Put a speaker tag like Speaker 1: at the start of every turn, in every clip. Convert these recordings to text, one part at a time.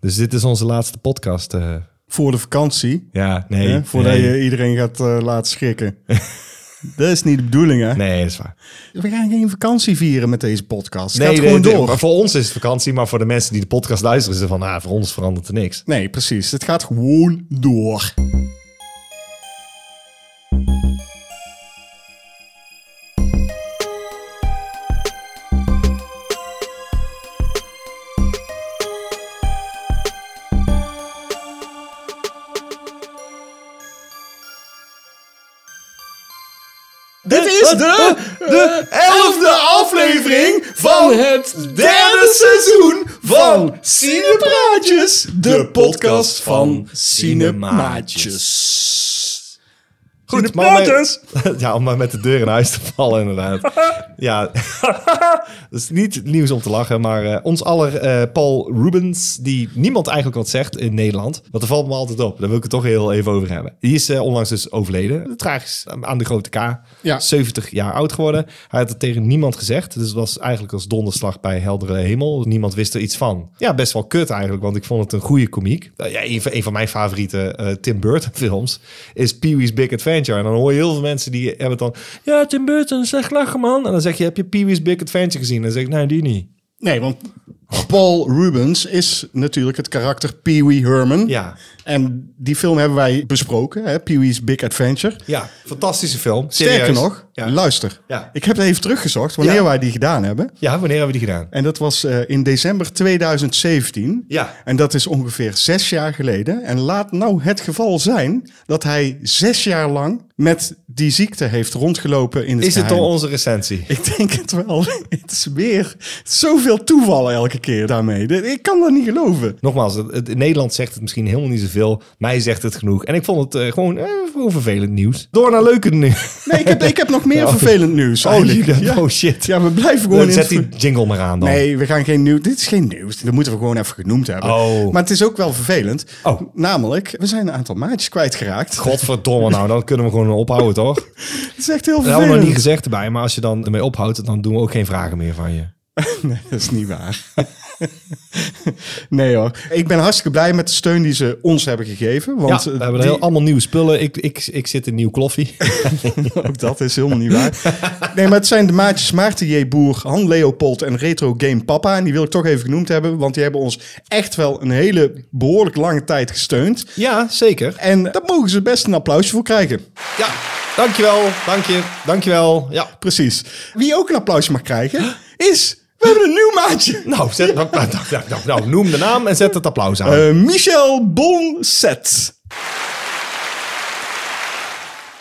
Speaker 1: Dus dit is onze laatste podcast. eh.
Speaker 2: Voor de vakantie.
Speaker 1: ja, nee.
Speaker 2: hè, voordat
Speaker 1: nee,
Speaker 2: je iedereen gaat eh, laten schrikken. dat is niet de bedoeling, hè?
Speaker 1: Nee, dat is waar.
Speaker 2: We gaan geen vakantie vieren met deze podcast. Het
Speaker 1: nee,
Speaker 2: Dus gaat gewoon
Speaker 1: nee,
Speaker 2: door.
Speaker 1: maar voor ons is het vakantie, maar voor de mensen die de podcast luisteren, is het van, ah, voor ons verandert er niks.
Speaker 2: Nee, precies. Het gaat gewoon door.
Speaker 1: Dit is de, de elfde aflevering van het derde seizoen van Cinepraatjes. De podcast van Cinemaatjes. Goed, maar om
Speaker 2: Cinemaatjes.
Speaker 1: maar- ja, om maar met de deur in huis te vallen inderdaad. Ja, dat is niet nieuws om te lachen, maar eh, ons aller eh, Paul Rubens, die niemand eigenlijk wat zegt in Nederland, dat valt me altijd op. Daar wil ik het toch heel even over hebben. Die is eh, onlangs dus overleden, tragisch, eh, aan de grote K.
Speaker 2: Ja.
Speaker 1: 70 jaar oud geworden. Hij had het tegen niemand gezegd. Dus het was eigenlijk als donderslag bij heldere hemel. Niemand wist er iets van. Ja, best wel kut eigenlijk, want ik vond het een goede komiek. Eh, Ja, een, van, een van mijn favoriete eh, Tim Burton films is Pee Wee's Big Adventure. En dan hoor je heel veel mensen die hebben het dan... Ja, Tim Burton, slecht lachen man. En dan zeg je, heb je Pee Wee's Big Adventure gezien? En dan zeg ik, nee, die niet.
Speaker 2: Nee, want Paul Rubens is natuurlijk het karakter Pee Wee Herman.
Speaker 1: Ja.
Speaker 2: En die film hebben wij besproken, hè? Pee Wee's Big Adventure.
Speaker 1: Ja, fantastische film.
Speaker 2: Sterker
Speaker 1: Serieus.
Speaker 2: nog,
Speaker 1: Ja.
Speaker 2: luister.
Speaker 1: Ja.
Speaker 2: Ik heb even teruggezocht wanneer
Speaker 1: Ja.
Speaker 2: wij die gedaan hebben.
Speaker 1: ja, wanneer hebben we die gedaan?
Speaker 2: En dat was eh, in december 2017.
Speaker 1: Ja.
Speaker 2: En dat is ongeveer zes jaar geleden. En laat nou het geval zijn dat hij zes jaar lang met die ziekte heeft rondgelopen in het
Speaker 1: Is het dan
Speaker 2: geheim.
Speaker 1: onze recensie?
Speaker 2: Ik denk het wel. het is weer zoveel toeval elke keer daarmee. Dit- Ik kan dat niet geloven.
Speaker 1: Nogmaals, het, het- in Nederland zegt het misschien helemaal niet zoveel. Mij zegt het genoeg. En ik vond het eh, gewoon, eh, gewoon vervelend nieuws. Door naar leuke nieuws.
Speaker 2: Nee, ik heb, ik heb nog meer
Speaker 1: Oh.
Speaker 2: vervelend nieuws.
Speaker 1: Oh,
Speaker 2: eigenlijk.
Speaker 1: je-
Speaker 2: ja.
Speaker 1: oh, shit.
Speaker 2: Ja, we blijven gewoon
Speaker 1: Dan
Speaker 2: in
Speaker 1: zet
Speaker 2: het
Speaker 1: die jingle maar aan dan.
Speaker 2: Nee, we gaan geen nieuws. Dit is geen nieuws. Dat moeten we gewoon even genoemd hebben.
Speaker 1: Oh.
Speaker 2: Maar het is ook wel vervelend.
Speaker 1: Oh.
Speaker 2: Namelijk, we zijn een aantal maatjes kwijtgeraakt.
Speaker 1: Godverdomme nou, dan kunnen we gewoon ophouden, toch? Dat
Speaker 2: Het is echt heel
Speaker 1: hebben we nog niet
Speaker 2: vervelend.
Speaker 1: gezegd erbij, maar als je dan ermee ophoudt, dan doen we ook geen vragen meer van je.
Speaker 2: Nee, dat is niet waar. nee hoor. Ik ben hartstikke blij met de steun die ze ons hebben gegeven. Want
Speaker 1: ja, we
Speaker 2: eh,
Speaker 1: hebben
Speaker 2: die-
Speaker 1: heel, allemaal nieuwe spullen. Ik, ik, ik zit in nieuw kloffie.
Speaker 2: ook dat is helemaal niet waar. Nee, maar het zijn de maatjes Maarten J. Boer, Han Leopold en Retro Game Papa. En die wil ik toch even genoemd hebben, want die hebben ons echt wel een hele behoorlijk lange tijd gesteund.
Speaker 1: ja, zeker.
Speaker 2: En daar mogen ze best een applausje voor krijgen.
Speaker 1: Ja, dankjewel. Dank je. Dankjewel. Ja.
Speaker 2: Precies. Wie ook een applausje mag krijgen, is... We hebben een nieuw maatje.
Speaker 1: Nou, zet, nou, nou, nou, nou, nou, noem de naam en zet het applaus aan.
Speaker 2: Eh, Michel Bonset.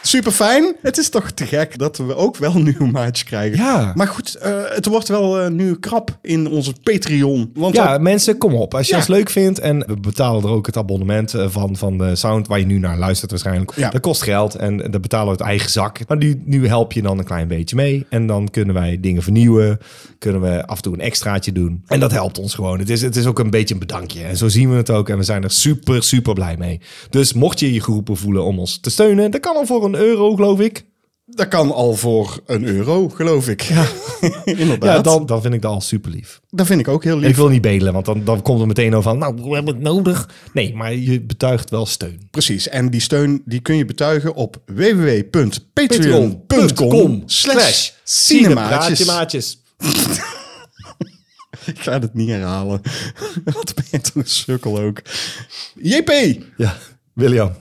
Speaker 2: Super fijn. Het is toch te gek dat we ook wel een nieuw maatje krijgen.
Speaker 1: Ja.
Speaker 2: Maar goed, eh, het wordt wel eh, nu krap in onze Patreon. Want
Speaker 1: Ja, mensen, kom op. Als je
Speaker 2: Ja.
Speaker 1: ons leuk vindt en we betalen er ook het abonnement eh, van, van de sound waar je nu naar luistert waarschijnlijk.
Speaker 2: Ja.
Speaker 1: Dat kost geld en eh, dat betalen we uit eigen zak. Maar nu, nu help je dan een klein beetje mee en dan kunnen wij dingen vernieuwen. Kunnen we af en toe een extraatje doen. En dat helpt ons gewoon. Het is, het is ook een beetje een bedankje. En zo zien we het ook en we zijn er super, super blij mee. Dus mocht je je geroepen voelen om ons te steunen, dat kan al voor een euro geloof ik.
Speaker 2: dat kan al voor een euro, geloof ik. Ja, inderdaad.
Speaker 1: Ja, dan, dan vind ik dat al super lief.
Speaker 2: Dat vind ik ook heel lief.
Speaker 1: Ik wil niet bedelen, want dan, dan komt er meteen over van, nou, we hebben het nodig. Nee, maar je betuigt wel steun.
Speaker 2: Precies. En die steun die kun je betuigen op www.patreon.com
Speaker 1: patreon.com
Speaker 2: slash
Speaker 1: slash
Speaker 2: cinemaatjes.
Speaker 1: cinemaatjes.
Speaker 2: Ik ga het niet herhalen. Wat ben je toch een sukkel ook. JP,
Speaker 1: Ja, William.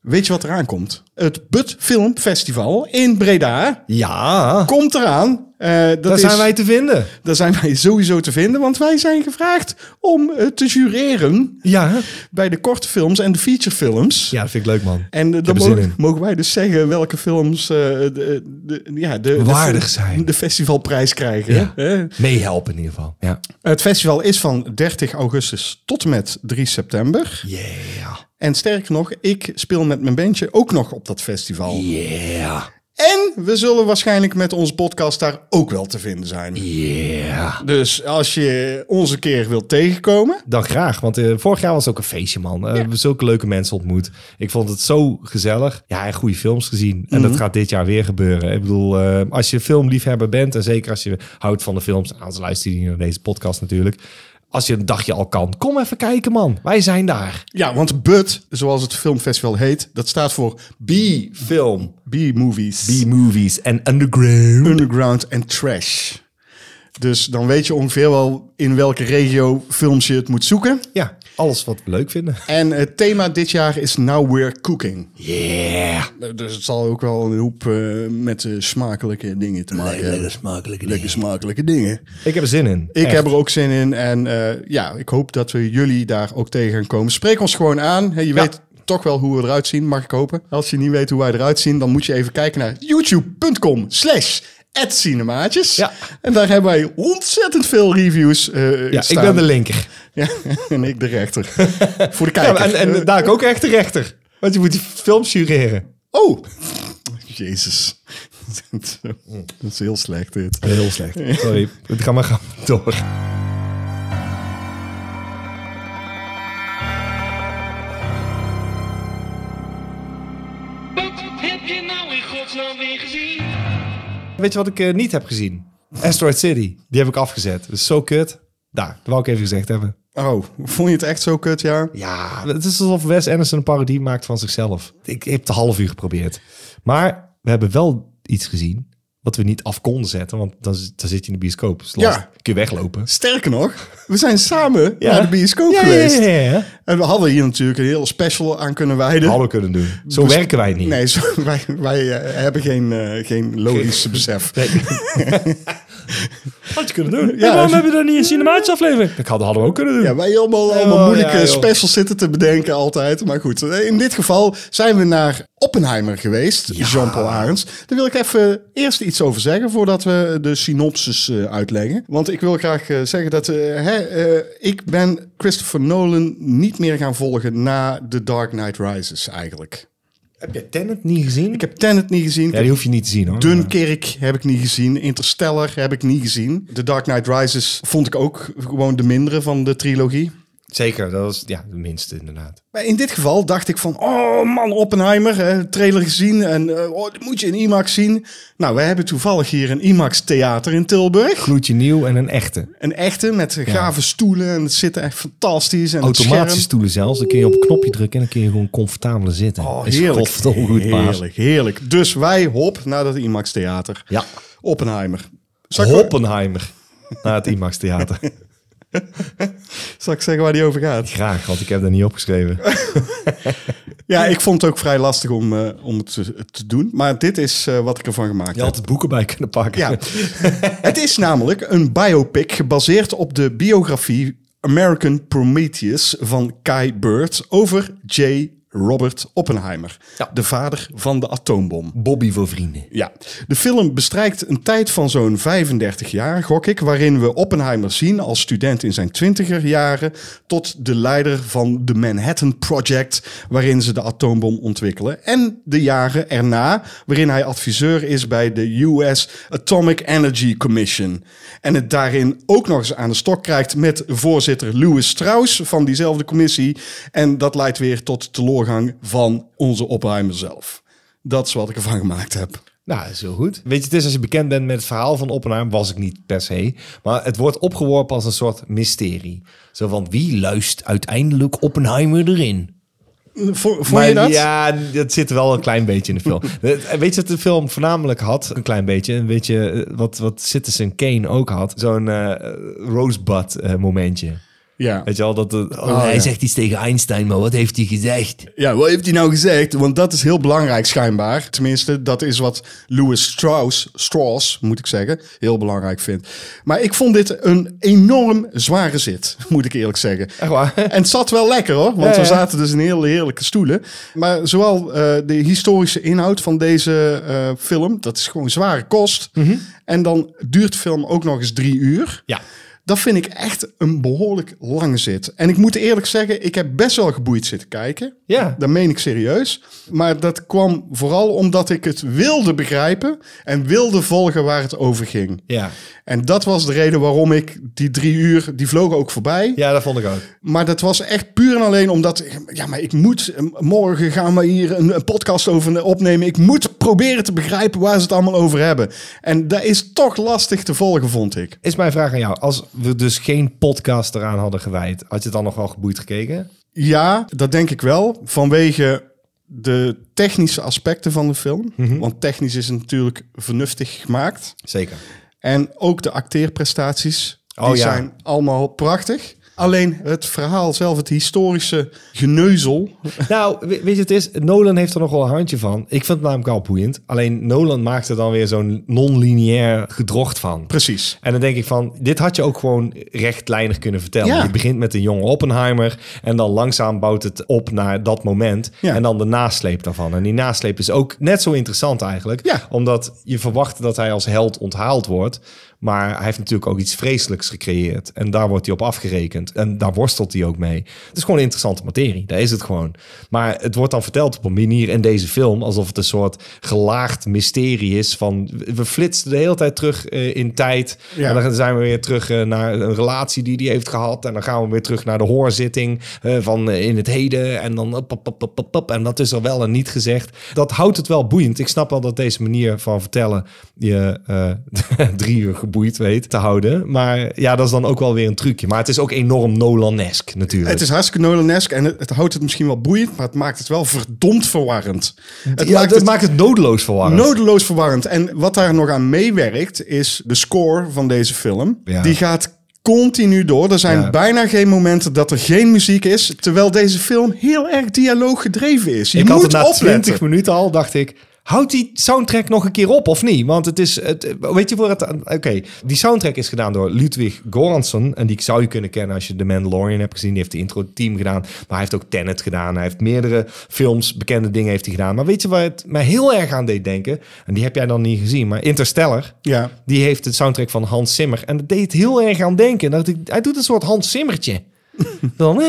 Speaker 2: Weet je wat eraan komt? Het Bud Film Festival in Breda
Speaker 1: Ja,
Speaker 2: komt eraan. Eh, dat
Speaker 1: daar
Speaker 2: is,
Speaker 1: zijn wij te vinden.
Speaker 2: daar zijn wij sowieso te vinden, want wij zijn gevraagd om eh, te jureren
Speaker 1: Ja.
Speaker 2: bij de korte films en de featurefilms.
Speaker 1: ja, dat vind ik leuk, man.
Speaker 2: En eh, dan
Speaker 1: er zin
Speaker 2: mogen,
Speaker 1: in.
Speaker 2: mogen wij dus zeggen welke films eh, de, de- ja, de, de-
Speaker 1: Waardig zijn.
Speaker 2: De festivalprijs krijgen.
Speaker 1: Ja.
Speaker 2: hè?
Speaker 1: Meehelpen in ieder geval. Ja.
Speaker 2: Het festival is van 30 augustus tot en met 3 september.
Speaker 1: Yeah.
Speaker 2: En sterker nog, ik speel met mijn bandje ook nog op dat festival.
Speaker 1: Yeah.
Speaker 2: En we zullen waarschijnlijk met onze podcast daar ook wel te vinden zijn.
Speaker 1: Yeah.
Speaker 2: Dus als je ons een keer wilt tegenkomen.
Speaker 1: Dan graag, want eh, vorig jaar was ook een feestje, man. Eh, We hebben zulke leuke mensen ontmoet. Ik vond het zo gezellig. Ja, en goede films gezien. En
Speaker 2: Mhm.
Speaker 1: dat gaat dit jaar weer gebeuren. Ik bedoel, eh, nou, als je filmliefhebber bent... en zeker als je houdt van de films... anders luister je niet naar deze podcast natuurlijk... Als je een dagje al kan, kom even kijken, man. Wij zijn daar.
Speaker 2: Ja, want BUT, zoals het filmfestival heet, dat staat voor
Speaker 1: B-film,
Speaker 2: B-movies.
Speaker 1: B-movies en underground.
Speaker 2: underground en trash. Dus dan weet je ongeveer wel in welke regio films je het moet zoeken.
Speaker 1: Ja, alles wat we leuk vinden.
Speaker 2: En het thema dit jaar is Now We're Cooking.
Speaker 1: Yeah.
Speaker 2: Dus het zal ook wel een hoop eh, met eh, smakelijke dingen te maken hebben. Lekker
Speaker 1: smakelijke
Speaker 2: smakelijke dingen.
Speaker 1: Ik heb er zin in.
Speaker 2: Ik
Speaker 1: Echt.
Speaker 2: heb er ook zin in. En eh, ja, ik hoop dat we jullie daar ook tegen gaan komen. Spreek ons gewoon aan. Hè, je weet toch wel hoe we eruit zien, mag ik hopen. Als je niet weet hoe wij eruit zien, dan moet je even kijken naar youtube.com slash cinemaatjes.
Speaker 1: Ja.
Speaker 2: En daar hebben wij ontzettend veel reviews eh
Speaker 1: Ja, ik
Speaker 2: staan.
Speaker 1: ben de linker.
Speaker 2: Ja, en ik de rechter. Voor de
Speaker 1: Ja,
Speaker 2: kijker.
Speaker 1: en, en daar ook echt de rechter. Want je moet die film jureren.
Speaker 2: Oh! Jezus. Dat is heel slecht dit.
Speaker 1: Heel slecht. Sorry, het gaat maar gaan door.
Speaker 3: Wat heb je nou in godsnaam weer gezien?
Speaker 1: Weet je wat ik eh, niet heb gezien? Asteroid City. Die heb ik afgezet. Dat is zo kut. Daar, dat wou ik even gezegd hebben.
Speaker 2: Oh, vond je het echt zo kut, ja?
Speaker 1: Ja, het is alsof Wes Anderson een parodie maakt van zichzelf. Ik heb het een half uur geprobeerd. Maar we hebben wel iets gezien wat we niet af konden zetten. Want dan, z- dan zit je in de bioscoop. Dus
Speaker 2: Ja.
Speaker 1: last- kun je weglopen.
Speaker 2: Sterker nog, we zijn samen
Speaker 1: Ja.
Speaker 2: naar de bioscoop
Speaker 1: Ja, ja,
Speaker 2: geweest.
Speaker 1: ja, ja, ja.
Speaker 2: En we hadden hier natuurlijk een heel special aan kunnen wijden.
Speaker 1: Hadden we kunnen doen. Zo
Speaker 2: Dus-
Speaker 1: werken wij niet.
Speaker 2: Nee, zo- wij, wij eh, hebben geen, eh, geen logisch besef.
Speaker 1: Had je kunnen doen.
Speaker 2: Ja. En waarom
Speaker 1: hebben we dan niet een cinematische aflevering? Dat hadden we ook kunnen doen.
Speaker 2: Ja, wij allemaal, allemaal
Speaker 1: Oh,
Speaker 2: moeilijke
Speaker 1: ja, joh.
Speaker 2: specials zitten te bedenken altijd. Maar goed, eh, in dit geval zijn we naar Oppenheimer geweest, Jean-Paul Arends. Daar wil ik even eerst iets over zeggen voordat we de synopsis eh, uitleggen. Want ik wil graag eh, zeggen dat eh, hè, eh, ik ben Christopher Nolan niet meer gaan volgen na The Dark Knight Rises eigenlijk.
Speaker 1: Heb je Tenet niet gezien?
Speaker 2: Ik heb Tenet niet gezien. Ik
Speaker 1: Ja, die hoef je niet te zien hoor.
Speaker 2: Dunkerk heb ik niet gezien. Interstellar heb ik niet gezien. The Dark Knight Rises vond ik ook gewoon de mindere van de trilogie.
Speaker 1: Zeker, dat was ja, de minste inderdaad.
Speaker 2: Maar in dit geval dacht ik van, oh man, Oppenheimer, hè, trailer gezien en eh, oh, dit moet je in IMAX zien. Nou, wij hebben toevallig hier een IMAX-theater in Tilburg.
Speaker 1: Gloedje nieuw en een echte.
Speaker 2: Een echte, met gave stoelen en het zitten echt fantastisch. En het
Speaker 1: Automatische
Speaker 2: scherm.
Speaker 1: stoelen zelfs. Dan kun je op een knopje drukken en dan kun je gewoon comfortabeler zitten.
Speaker 2: Oh,
Speaker 1: Is
Speaker 2: heerlijk.
Speaker 1: godverdomme goed, baas.
Speaker 2: heerlijk, heerlijk. Dus wij hop naar dat IMAX-theater.
Speaker 1: Ja.
Speaker 2: Oppenheimer. Zal ik,
Speaker 1: Hoppenheimer. Naar het IMAX Theater.
Speaker 2: zal ik zeggen waar die over gaat?
Speaker 1: Graag, want ik heb dat niet opgeschreven.
Speaker 2: Ja, ik vond het ook vrij lastig om, eh, om het te, te doen. Maar dit is eh, wat ik ervan gemaakt
Speaker 1: Je
Speaker 2: heb.
Speaker 1: had het boeken bij kunnen pakken.
Speaker 2: Ja. het is namelijk een biopic gebaseerd op de biografie American Prometheus van Kai Bird over J. Robert Oppenheimer,
Speaker 1: Ja.
Speaker 2: de vader van de atoombom.
Speaker 1: Bobby voor vrienden.
Speaker 2: Ja, de film bestrijkt een tijd van zo'n 35 jaar, gok ik, waarin we Oppenheimer zien als student in zijn twintiger jaren tot de leider van de Manhattan Project, waarin ze de atoombom ontwikkelen. En de jaren erna, waarin hij adviseur is bij de US Atomic Energy Commission. En het daarin ook nog eens aan de stok krijgt met voorzitter Louis Strauss van diezelfde commissie. En dat leidt weer tot teleurgang van onze Oppenheimer zelf. Dat is wat ik ervan gemaakt heb.
Speaker 1: Nou, dat is heel goed. Weet je, het is als je bekend bent met het verhaal van Oppenheimer, was ik niet per se. Maar het wordt opgeworpen als een soort mysterie. Zo van, wie luist uiteindelijk Oppenheimer erin?
Speaker 2: Vo- Vond
Speaker 1: Maar
Speaker 2: je dat?
Speaker 1: Ja, dat zit wel een klein beetje in de film. Het- Weet je wat de film voornamelijk had? Een klein beetje. En weet je eh, wat, wat Citizen Kane ook had? Zo'n eh, rosebud eh, momentje.
Speaker 2: Ja.
Speaker 1: Weet je wel, dat... het- oh,
Speaker 2: ja.
Speaker 1: zegt iets tegen Einstein, maar wat heeft hij gezegd?
Speaker 2: ja, wat heeft hij nou gezegd? Want dat is heel belangrijk schijnbaar. Tenminste, dat is wat Louis Strauss, Strauss moet ik zeggen, heel belangrijk vindt. Maar ik vond dit een enorm zware zit, moet ik eerlijk zeggen.
Speaker 1: Echt waar?
Speaker 2: En het zat wel lekker hoor, want
Speaker 1: Ja,
Speaker 2: we
Speaker 1: ja.
Speaker 2: zaten dus in hele heerlijke stoelen. Maar zowel eh, de historische inhoud van deze eh, film, dat is gewoon zware kost. En dan duurt de film ook nog eens drie uur.
Speaker 1: Mhm. Ja.
Speaker 2: Dat vind ik echt een behoorlijk lange zit. En ik moet eerlijk zeggen, ik heb best wel geboeid zitten kijken.
Speaker 1: Ja.
Speaker 2: Dat meen ik serieus. Maar dat kwam vooral omdat ik het wilde begrijpen en wilde volgen waar het over ging.
Speaker 1: Ja.
Speaker 2: En dat was de reden waarom ik die drie uur, die vlogen ook voorbij.
Speaker 1: ja, dat vond ik ook.
Speaker 2: Maar dat was echt puur en alleen omdat, ja, maar ik moet, eh, morgen gaan we hier een, een podcast over opnemen. Ik moet proberen te begrijpen waar ze het allemaal over hebben. En dat is toch lastig te volgen, vond ik.
Speaker 1: Is mijn vraag aan jou. Als we dus geen podcast eraan hadden gewijd, had je het dan nog wel geboeid gekeken?
Speaker 2: Ja, dat denk ik wel. Vanwege de technische aspecten van de film.
Speaker 1: Mhm.
Speaker 2: Want technisch is het natuurlijk vernuftig gemaakt.
Speaker 1: Zeker.
Speaker 2: En ook de acteerprestaties. Die
Speaker 1: Oh, ja.
Speaker 2: zijn allemaal prachtig. Alleen het verhaal zelf, het historische geneuzel.
Speaker 1: Nou, we- weet je, het is, Nolan heeft er nog wel een handje van. Ik vind het namelijk al boeiend. Alleen Nolan maakt er dan weer zo'n non-lineair gedrocht van.
Speaker 2: Precies.
Speaker 1: En dan denk ik van, dit had je ook gewoon rechtlijnig kunnen vertellen.
Speaker 2: Ja.
Speaker 1: Je begint met een jonge Oppenheimer en dan langzaam bouwt het op naar dat moment.
Speaker 2: Ja.
Speaker 1: En dan de nasleep daarvan. En die nasleep is ook net zo interessant eigenlijk.
Speaker 2: Ja.
Speaker 1: Omdat je verwacht dat hij als held onthaald wordt. Maar hij heeft natuurlijk ook iets vreselijks gecreëerd. En daar wordt hij op afgerekend. En daar worstelt hij ook mee. Het is gewoon een interessante materie. Daar is het gewoon. Maar het wordt dan verteld op een manier in deze film... alsof het een soort gelaagd mysterie is van... we flitsen de hele tijd terug eh, in tijd.
Speaker 2: Ja.
Speaker 1: En dan zijn we weer terug eh, naar een relatie die hij heeft gehad. En dan gaan we weer terug naar de hoorzitting eh, van eh, in het heden. En dan eh, op, op, op, op, op, op. En dat is er wel en niet gezegd. Dat houdt het wel boeiend. Ik snap wel dat deze manier van vertellen je eh, drie uur geboeid weet te houden. Maar ja, dat is dan ook wel weer een trucje. Maar het is ook enorm Nolanesk natuurlijk.
Speaker 2: Het is hartstikke Nolanesk en het, het houdt het misschien wel boeiend, maar het maakt het wel verdomd verwarrend. Het
Speaker 1: Ja,
Speaker 2: maakt
Speaker 1: dat
Speaker 2: het
Speaker 1: maakt het noodloos verwarrend.
Speaker 2: nodeloos verwarrend. En wat daar nog aan meewerkt, is de score van deze film.
Speaker 1: Ja.
Speaker 2: Die gaat continu door. Er zijn
Speaker 1: Ja.
Speaker 2: bijna geen momenten dat er geen muziek is, terwijl deze film heel erg dialoog gedreven is. Dus Je
Speaker 1: ik
Speaker 2: moet
Speaker 1: had het na
Speaker 2: opletten.
Speaker 1: 20 minuten al, dacht ik. Houdt die soundtrack nog een keer op of niet? Want het is. Het, weet je voor het. Oké, die soundtrack is gedaan door Ludwig Goransson. En die zou je kunnen kennen als je The Mandalorian hebt gezien. Die heeft de intro team gedaan. Maar hij heeft ook Tenet gedaan. Hij heeft meerdere films, bekende dingen heeft hij gedaan. Maar weet je waar het mij heel erg aan deed denken? En die heb jij dan niet gezien. Maar Interstellar.
Speaker 2: Ja.
Speaker 1: Die heeft de soundtrack van Hans Zimmer. En dat deed heel erg aan denken. Dat ik, hij doet een soort Hans Zimmertje. Dan.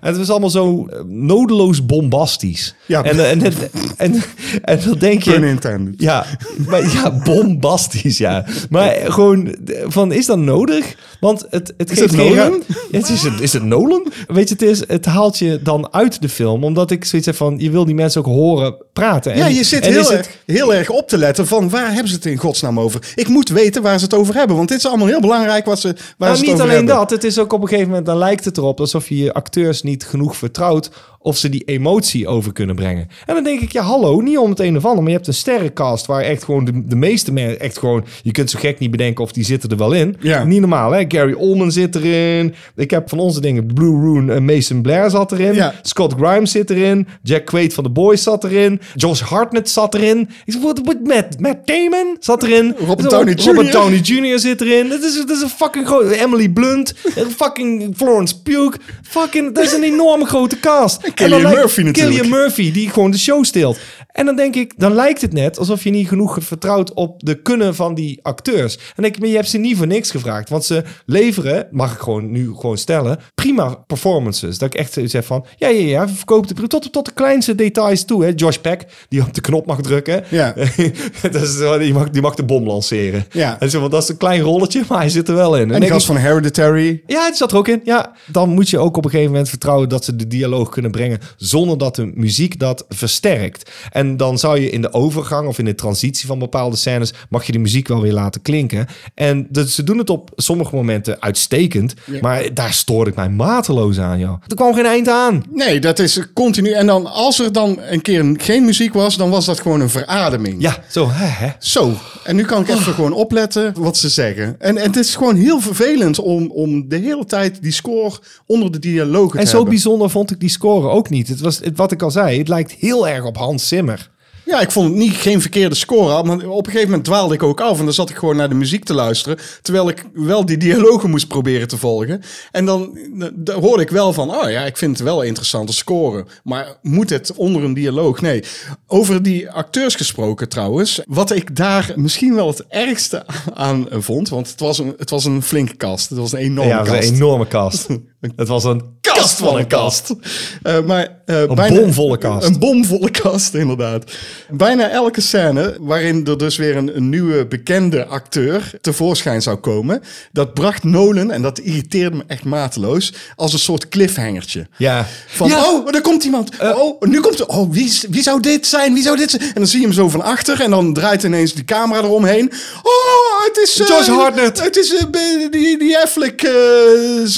Speaker 1: En het was allemaal zo eh, nodeloos bombastisch.
Speaker 2: Ja.
Speaker 1: En, eh, en, en, en, en dan denk
Speaker 2: Pun
Speaker 1: je.
Speaker 2: intended.
Speaker 1: Ja, maar, ja, bombastisch, ja. Maar gewoon, eh, van, is dat nodig? Want het, het geeft
Speaker 2: het
Speaker 1: geen
Speaker 2: Nolan?
Speaker 1: ruim- Ja, het is, het, is het Nolan? Weet je, het, is, het haalt je dan uit de film. Omdat ik zoiets heb van, je wil die mensen ook horen praten. En,
Speaker 2: Ja, je zit
Speaker 1: en is
Speaker 2: heel,
Speaker 1: het-
Speaker 2: erg, heel erg op te letten van waar hebben ze het in godsnaam over. Ik moet weten waar ze het over hebben, want dit is allemaal heel belangrijk wat ze, waar
Speaker 1: Nou,
Speaker 2: ze
Speaker 1: niet
Speaker 2: het over
Speaker 1: alleen
Speaker 2: hebben.
Speaker 1: dat. Het is ook op een gegeven moment, dan lijkt het erop alsof je je acteurs niet genoeg vertrouwt of ze die emotie over kunnen brengen. En dan denk ik, ja hallo, niet om het een of ander, maar je hebt een sterrencast waar echt gewoon de, de meeste mensen echt gewoon, je kunt zo gek niet bedenken of die zitten er wel in.
Speaker 2: Ja.
Speaker 1: Niet normaal hè, Gary Oldman zit erin. Ik heb van onze dingen, Blue Rune en Mason Blair zat erin.
Speaker 2: Ja.
Speaker 1: Scott Grimes zit erin. Jack Quaid van The Boys zat erin. Josh Hartnett zat erin. Ik zeg, wat wat- Matt, Matt Damon zat erin.
Speaker 2: Robert Downey Jr..
Speaker 1: Robert Downey Jr. zit erin. Het is, het is een fucking grote... Emily Blunt. een fucking Florence Pugh. Fucking... Dat is een enorme grote cast. En
Speaker 2: Cillian
Speaker 1: dan lijkt-
Speaker 2: Murphy natuurlijk.
Speaker 1: Cillian Murphy, die gewoon de show steelt. En dan denk ik... Dan lijkt het net alsof je niet genoeg vertrouwt op de kunnen van die acteurs. En dan denk ik, maar je hebt ze niet voor niks gevraagd. Want ze leveren, mag ik gewoon nu gewoon stellen... prima performances. Dat ik echt zeg van... Ja, ja, ja, verkoopt de... Tot, tot de kleinste details toe, hè. Josh Peck, die op de knop mag drukken.
Speaker 2: Ja.
Speaker 1: dat is, die, mag, die mag de bom lanceren.
Speaker 2: Ja.
Speaker 1: En zo, want dat is een klein rolletje, maar hij zit er wel in. En
Speaker 2: En die
Speaker 1: ik
Speaker 2: gast van Hereditary.
Speaker 1: ja, het zat er ook in. Ja, dan moet je ook op een gegeven moment vertrouwen dat ze de dialoog kunnen brengen zonder dat de muziek dat versterkt. En dan zou je in de overgang of in de transitie van bepaalde scènes mag je die muziek wel weer laten klinken. En dus ze doen het op sommige momenten uitstekend, maar daar stoorde ik mij mateloos aan, joh. Er kwam geen eind aan.
Speaker 2: Nee, dat is continu. En dan als er dan een keer geen muziek was, dan was dat gewoon een verademing.
Speaker 1: Ja, zo. Hè, hè.
Speaker 2: Zo, en nu kan ik
Speaker 1: Oh.
Speaker 2: even gewoon opletten wat ze zeggen. En, en het is gewoon heel vervelend om, om de hele tijd die score onder de dialoog te
Speaker 1: En zo
Speaker 2: hebben.
Speaker 1: bijzonder vond ik die score ook niet. Het was het, wat ik al zei. Het lijkt heel erg op Hans Zimmer.
Speaker 2: Ja, ik vond het niet, geen verkeerde score, maar op een gegeven moment dwaalde ik ook af. En dan zat ik gewoon naar de muziek te luisteren, terwijl ik wel die dialogen moest proberen te volgen. En dan, dan hoorde ik wel van, oh ja, ik vind het wel interessante score. Maar moet het onder een dialoog? Nee. Over die acteurs gesproken trouwens, wat ik daar misschien wel het ergste aan vond, want het was een, het was een flinke kast. Het was een enorme
Speaker 1: ja, dat
Speaker 2: kast.
Speaker 1: was een enorme kast. Het was een kast van een kast.
Speaker 2: Eh, maar, eh,
Speaker 1: Een bomvolle kast.
Speaker 2: Een bomvolle kast, inderdaad. Bijna elke scène waarin er dus weer een, een nieuwe bekende acteur tevoorschijn zou komen, dat bracht Nolan, en dat irriteerde me echt mateloos, als een soort cliffhangertje.
Speaker 1: Ja.
Speaker 2: Van,
Speaker 1: Ja. Eh.
Speaker 2: oh, daar komt iemand. oh, nu komt er. Oh, wie, is- wie zou dit zijn? Wie zou dit zijn? En dan zie je hem zo van achter en dan draait ineens die camera eromheen. Oh, het is... eh,
Speaker 1: Josh Hartnett.
Speaker 2: Het is eh, be- die, die Affleck eh,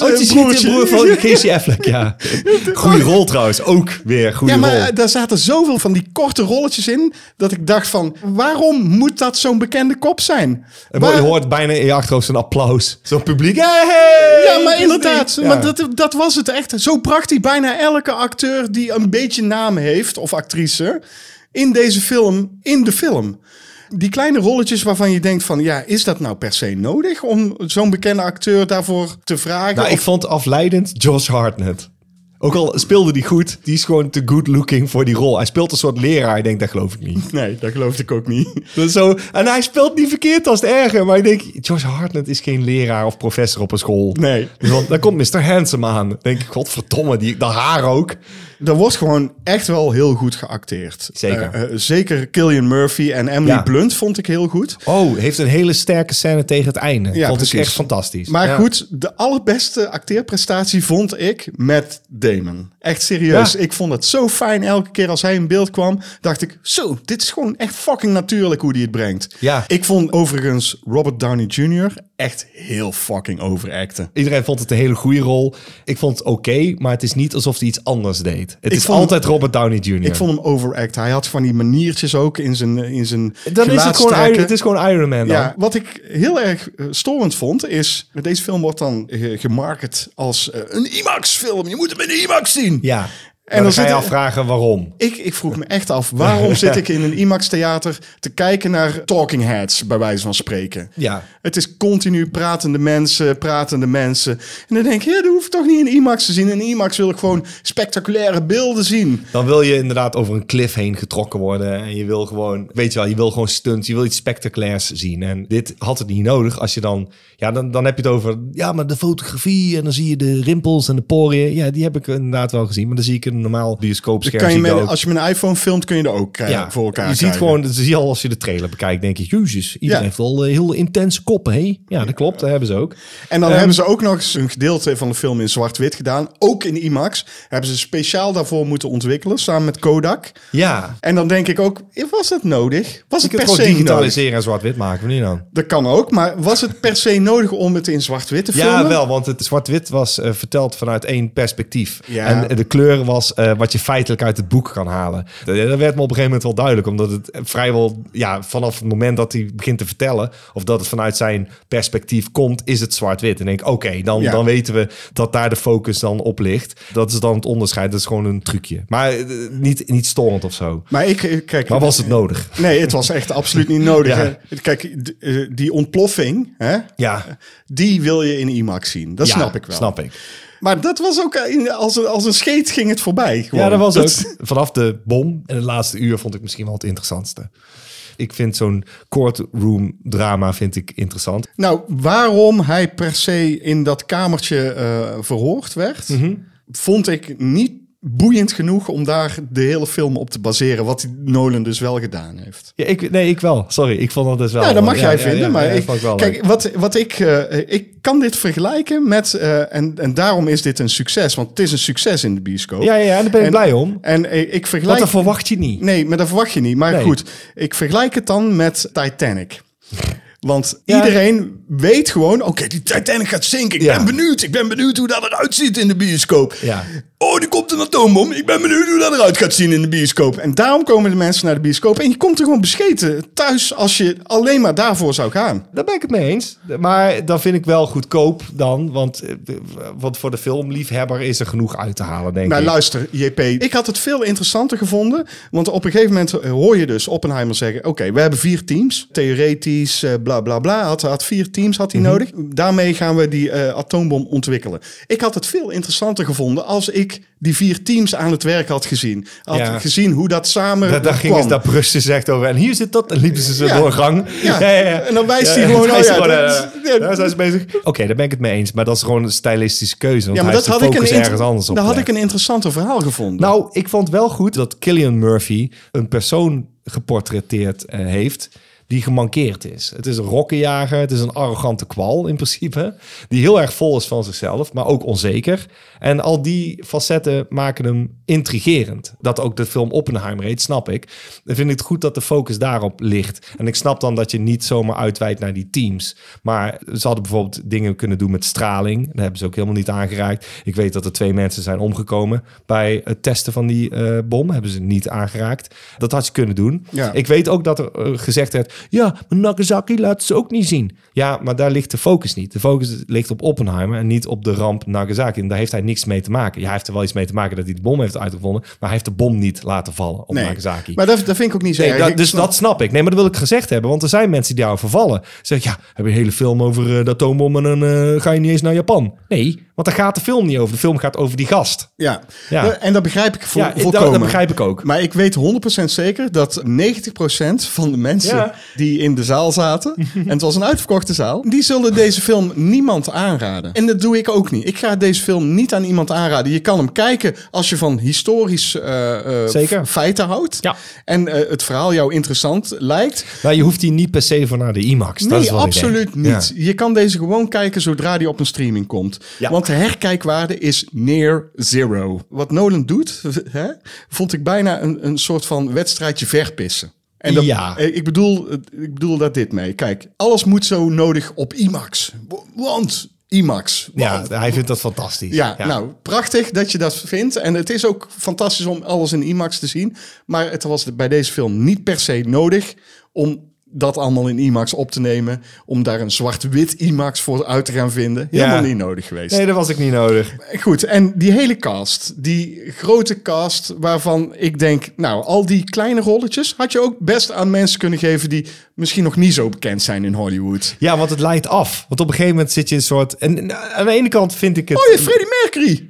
Speaker 1: Oh, het is niet de
Speaker 2: broertje.
Speaker 1: broer van Casey Affleck, ja. Goeie rol trouwens, ook weer goede
Speaker 2: Ja, maar
Speaker 1: rol.
Speaker 2: eh, daar zaten zoveel van die korte rolletjes in... dat ik dacht van, waarom moet dat zo'n bekende kop zijn?
Speaker 1: En Je
Speaker 2: Waar-
Speaker 1: hoort bijna in je achterhoofd zo'n applaus. Zo'n publiek. Hey!
Speaker 2: Ja, maar inderdaad.
Speaker 1: Ja.
Speaker 2: Maar dat, dat was het echt. Zo bracht hij bijna elke acteur die een beetje naam heeft, of actrice, in deze film, in de film. Die kleine rolletjes waarvan je denkt van, ja, is dat nou per se nodig om zo'n bekende acteur daarvoor te vragen?
Speaker 1: Nou,
Speaker 2: Of-
Speaker 1: ik vond afleidend Josh Hartnett. Ook al speelde hij goed, die is gewoon te good looking voor die rol. Hij speelt een soort leraar, ik denk, dat geloof ik niet.
Speaker 2: Nee, dat geloofde ik ook niet.
Speaker 1: Dat is zo, en hij speelt niet verkeerd als het erger, maar ik denk, Josh Hartnett is geen leraar of professor op een school.
Speaker 2: Nee.
Speaker 1: Dus dan, dan komt Mr. Handsome aan. Dan denk ik, godverdomme, die, dat haar ook.
Speaker 2: Er wordt gewoon echt wel heel goed geacteerd.
Speaker 1: Zeker.
Speaker 2: Eh, eh, zeker Killian Murphy en Emily
Speaker 1: Ja.
Speaker 2: Blunt vond ik heel goed.
Speaker 1: Oh, heeft een hele sterke scène tegen het einde.
Speaker 2: Ja,
Speaker 1: vond ik
Speaker 2: precies.
Speaker 1: echt fantastisch.
Speaker 2: Maar
Speaker 1: Ja.
Speaker 2: goed, de allerbeste acteerprestatie vond ik met Damon. Echt serieus.
Speaker 1: Ja.
Speaker 2: Ik vond het zo fijn elke keer als hij in beeld kwam. Dacht ik, zo, dit is gewoon echt fucking natuurlijk hoe hij het brengt.
Speaker 1: Ja.
Speaker 2: Ik vond overigens Robert Downey Jr. echt heel fucking overacten.
Speaker 1: Iedereen vond het een hele goede rol. Ik vond het oké, maar het is niet alsof hij iets anders deed. Het
Speaker 2: Ik
Speaker 1: is
Speaker 2: vond-
Speaker 1: altijd Robert Downey Jr.
Speaker 2: Ik vond hem overacten. Hij had van die maniertjes ook in zijn in zijn
Speaker 1: dan is het, gewoon Iron,
Speaker 2: gelaatstrekken.
Speaker 1: het is gewoon Iron Man dan.
Speaker 2: Ja, wat ik heel erg eh, storend vond is... Deze film wordt dan eh, gemarket als eh, een IMAX-film. Je moet hem in de IMAX zien.
Speaker 1: Ja. En dan,
Speaker 2: dan
Speaker 1: ga je
Speaker 2: zit-
Speaker 1: afvragen waarom.
Speaker 2: Ik, ik vroeg me echt af, waarom zit ik in een IMAX-theater te kijken naar talking heads, bij wijze van spreken?
Speaker 1: Ja.
Speaker 2: Het is continu pratende mensen, pratende mensen. En dan denk ik, ja, dat hoef ik toch niet in IMAX te zien. In IMAX wil ik gewoon spectaculaire beelden zien.
Speaker 1: Dan wil je inderdaad over een cliff heen getrokken worden. En je wil gewoon, weet je wel, je wil gewoon stunts. Je wil iets spectaculairs zien. En dit had het niet nodig. Als je dan, ja, dan, dan heb je het over, ja, maar de fotografie. En dan zie je de rimpels en de poriën. Ja, die heb ik inderdaad wel gezien. Maar dan zie ik in een normaal bioscoopscherm.
Speaker 2: Kan je
Speaker 1: zie ik
Speaker 2: met,
Speaker 1: dat ook.
Speaker 2: als je met een iPhone filmt, kun je dat ook eh,
Speaker 1: ja,
Speaker 2: voor elkaar
Speaker 1: Je ziet
Speaker 2: krijgen.
Speaker 1: gewoon, zie je al als je de trailer bekijkt, denk je, jezus, iedereen
Speaker 2: Ja.
Speaker 1: heeft wel eh, heel intense koppen, hé? Ja, dat klopt, dat hebben ze ook.
Speaker 2: En dan
Speaker 1: Ehm,
Speaker 2: hebben ze ook nog eens een gedeelte van de film in zwart-wit gedaan. Ook in IMAX. Hebben ze speciaal daarvoor moeten ontwikkelen, samen met Kodak.
Speaker 1: Ja,
Speaker 2: En dan denk ik ook, eh, was het nodig? Was
Speaker 1: je
Speaker 2: het
Speaker 1: kunt
Speaker 2: per
Speaker 1: gewoon
Speaker 2: se nodig?
Speaker 1: digitaliseren en zwart-wit maken, wanneer dan?
Speaker 2: Dat kan ook, maar was het per se nodig om het in zwart-wit te filmen?
Speaker 1: Ja, wel, want het zwart-wit was eh, verteld vanuit één perspectief.
Speaker 2: Ja.
Speaker 1: En eh, de kleur was eh, wat je feitelijk uit het boek kan halen. Dat, dat werd me op een gegeven moment wel duidelijk, omdat het vrijwel ja, vanaf het moment dat hij begint te vertellen, of dat het vanuit zijn perspectief komt, is het zwart-wit. En ik denk, oké, dan,
Speaker 2: Ja.
Speaker 1: dan weten we dat daar de focus dan op ligt. Dat is dan het onderscheid, dat is gewoon een trucje. Maar eh, niet, niet storend of zo.
Speaker 2: Maar ik, eh, kijk...
Speaker 1: Maar was het nodig?
Speaker 2: Nee, het was echt absoluut niet nodig.
Speaker 1: Ja.
Speaker 2: hè. Kijk, d- eh, die ontploffing, hè,
Speaker 1: Ja,
Speaker 2: die wil je in IMAX zien. Dat
Speaker 1: Ja,
Speaker 2: snap ik wel.
Speaker 1: Snap ik.
Speaker 2: Maar dat was ook eh, in- als een, als een scheet ging het voorbij. gewoon.
Speaker 1: Ja, dat was ook. Vanaf de bom en het laatste uur vond ik misschien wel het interessantste. Ik vind zo'n courtroom drama vind ik interessant.
Speaker 2: Nou, waarom hij per se in dat kamertje eh, verhoord werd,
Speaker 1: Mhm.
Speaker 2: vond ik niet boeiend genoeg om daar de hele film op te baseren. Wat Nolan dus wel gedaan heeft.
Speaker 1: Ja, ik, nee, ik wel. Sorry, ik vond dat dus wel.
Speaker 2: Ja, dat mag jij
Speaker 1: ja,
Speaker 2: vinden,
Speaker 1: ja,
Speaker 2: maar
Speaker 1: ja,
Speaker 2: ik,
Speaker 1: vond wel
Speaker 2: kijk,
Speaker 1: leuk.
Speaker 2: wat, wat ik, eh, ik kan dit vergelijken met, eh, en, en daarom is dit een succes, want het is een succes in de bioscoop.
Speaker 1: Ja, ja, ja, daar ben ik blij om.
Speaker 2: En eh, ik
Speaker 1: Want
Speaker 2: vergelijk,
Speaker 1: dat verwacht je niet.
Speaker 2: nee, maar dat verwacht je niet. Maar
Speaker 1: Nee.
Speaker 2: goed, ik vergelijk het dan met Titanic. Want
Speaker 1: Ja.
Speaker 2: iedereen weet gewoon, oké, die Titanic gaat zinken. Ik
Speaker 1: Ja.
Speaker 2: ben benieuwd. Ik ben benieuwd hoe dat eruit ziet in de bioscoop.
Speaker 1: Ja.
Speaker 2: Oh, er komt een atoombom. Ik ben benieuwd hoe dat eruit gaat zien in de bioscoop. En daarom komen de mensen naar de bioscoop. En je komt er gewoon bescheten thuis als je alleen maar daarvoor zou gaan.
Speaker 1: Daar ben ik het mee eens. Maar dan vind ik wel goedkoop dan. Want, eh, want voor de filmliefhebber is er genoeg uit te halen, denk
Speaker 2: Nou,
Speaker 1: ik.
Speaker 2: luister, JP. Ik had het veel interessanter gevonden. Want op een gegeven moment hoor je dus Oppenheimer zeggen... oké, we hebben vier teams. Theoretisch, eh, bla bla bla. Had, had vier teams had
Speaker 1: Mhm.
Speaker 2: hij nodig. Daarmee gaan we die eh, atoombom ontwikkelen. Ik had het veel interessanter gevonden als ik ik die vier teams aan het werk had gezien. Had
Speaker 1: Ja.
Speaker 2: gezien hoe dat samen
Speaker 1: Daar, daar
Speaker 2: kwam.
Speaker 1: gingen ze daar rustig zegt over. En hier zit dat. En liepen ze zo
Speaker 2: Ja.
Speaker 1: door gang.
Speaker 2: Ja. En dan wijst hij gewoon,
Speaker 1: dan
Speaker 2: oh
Speaker 1: wijst
Speaker 2: ja,
Speaker 1: hij gewoon,
Speaker 2: dat
Speaker 1: eh,
Speaker 2: is- ja.
Speaker 1: daar zijn ze bezig. Oké, daar ben ik het mee eens. Maar dat is gewoon een stylistische keuze. Want
Speaker 2: Ja, maar
Speaker 1: hij
Speaker 2: dat
Speaker 1: heeft
Speaker 2: had
Speaker 1: de
Speaker 2: ik, een
Speaker 1: focus
Speaker 2: inter-
Speaker 1: ergens anders op
Speaker 2: dat had
Speaker 1: gelegd.
Speaker 2: ik een interessanter verhaal gevonden.
Speaker 1: Nou, ik vond wel goed dat Killian Murphy een persoon geportretteerd eh, heeft die gemankeerd is. Het is een rokkenjager, het is een arrogante kwal in principe, die heel erg vol is van zichzelf, maar ook onzeker. En al die facetten maken hem intrigerend. Dat ook de film Oppenheimer heet, snap ik. Dan vind ik het goed dat de focus daarop ligt. En ik snap dan dat je niet zomaar uitwijdt naar die teams. Maar ze hadden bijvoorbeeld dingen kunnen doen met straling. Daar hebben ze ook helemaal niet aangeraakt. Ik weet dat er twee mensen zijn omgekomen bij het testen van die eh, bom. Hebben ze niet aangeraakt. Dat had je kunnen doen.
Speaker 2: Ja.
Speaker 1: Ik weet ook dat er eh, gezegd werd... Ja, maar Nagasaki laat ze ook niet zien. Ja, maar daar ligt de focus niet. De focus ligt op Oppenheimer en niet op de ramp Nagasaki. En daar heeft hij niks mee te maken. Ja, hij heeft er wel iets mee te maken dat hij de bom heeft uitgevonden... maar hij heeft de bom niet laten vallen op
Speaker 2: nee.
Speaker 1: Nagasaki.
Speaker 2: Maar dat, dat vind ik ook niet zo
Speaker 1: Nee,
Speaker 2: erg.
Speaker 1: dat-
Speaker 2: Ik
Speaker 1: dus
Speaker 2: snap-
Speaker 1: dat snap ik. Nee, maar dat wil ik gezegd hebben. Want er zijn mensen die jou vervallen. Zeg ja, heb je een hele film over eh, de atoombom en dan eh, ga je niet eens naar Japan. Nee, want daar gaat de film niet over. De film gaat over die gast.
Speaker 2: Ja.
Speaker 1: Ja.
Speaker 2: en dat begrijp ik vo-
Speaker 1: ja, dat,
Speaker 2: volkomen.
Speaker 1: dat begrijp ik ook.
Speaker 2: Maar ik weet 100% zeker dat 90% van de mensen
Speaker 1: Ja.
Speaker 2: die in de zaal zaten, en het was een uitverkochte zaal, die zullen deze film niemand aanraden. En dat doe ik ook niet. Ik ga deze film niet aan iemand aanraden. Je kan hem kijken als je van historisch eh, eh,
Speaker 1: Zeker.
Speaker 2: f- feiten houdt
Speaker 1: Ja.
Speaker 2: en eh, het verhaal jou interessant lijkt.
Speaker 1: Maar je hoeft die niet per se voor naar de IMAX. dat is
Speaker 2: Nee,
Speaker 1: wat ik denk.
Speaker 2: absoluut niet. Je kan deze gewoon kijken zodra die op een streaming komt.
Speaker 1: Ja.
Speaker 2: Want de herkijkwaarde is near zero. Wat Nolan doet, hè, vond ik bijna een, een soort van wedstrijdje verpissen. En dat,
Speaker 1: Ja.
Speaker 2: eh, ik, bedoel, eh, ik bedoel daar dit mee. Kijk, alles moet zo nodig op IMAX. Wo- Want IMAX.
Speaker 1: Ja,
Speaker 2: Want-
Speaker 1: hij vindt dat fantastisch.
Speaker 2: ja, nou, prachtig dat je dat vindt. En het is ook fantastisch om alles in IMAX te zien. Maar het was bij deze film niet per se nodig om dat allemaal in IMAX op te nemen. Om daar een zwart-wit IMAX voor uit te gaan vinden. Helemaal
Speaker 1: Ja.
Speaker 2: niet nodig geweest.
Speaker 1: Nee, dat was ik niet nodig.
Speaker 2: Goed, en die hele cast, die grote cast waarvan ik denk, nou, al die kleine rolletjes had je ook best aan mensen kunnen geven die misschien nog niet zo bekend zijn in Hollywood.
Speaker 1: Ja, want het leidt af. Want op een gegeven moment zit je een soort... En en aan de ene kant vind ik het...
Speaker 2: Oh, je hebt Freddie Mercury.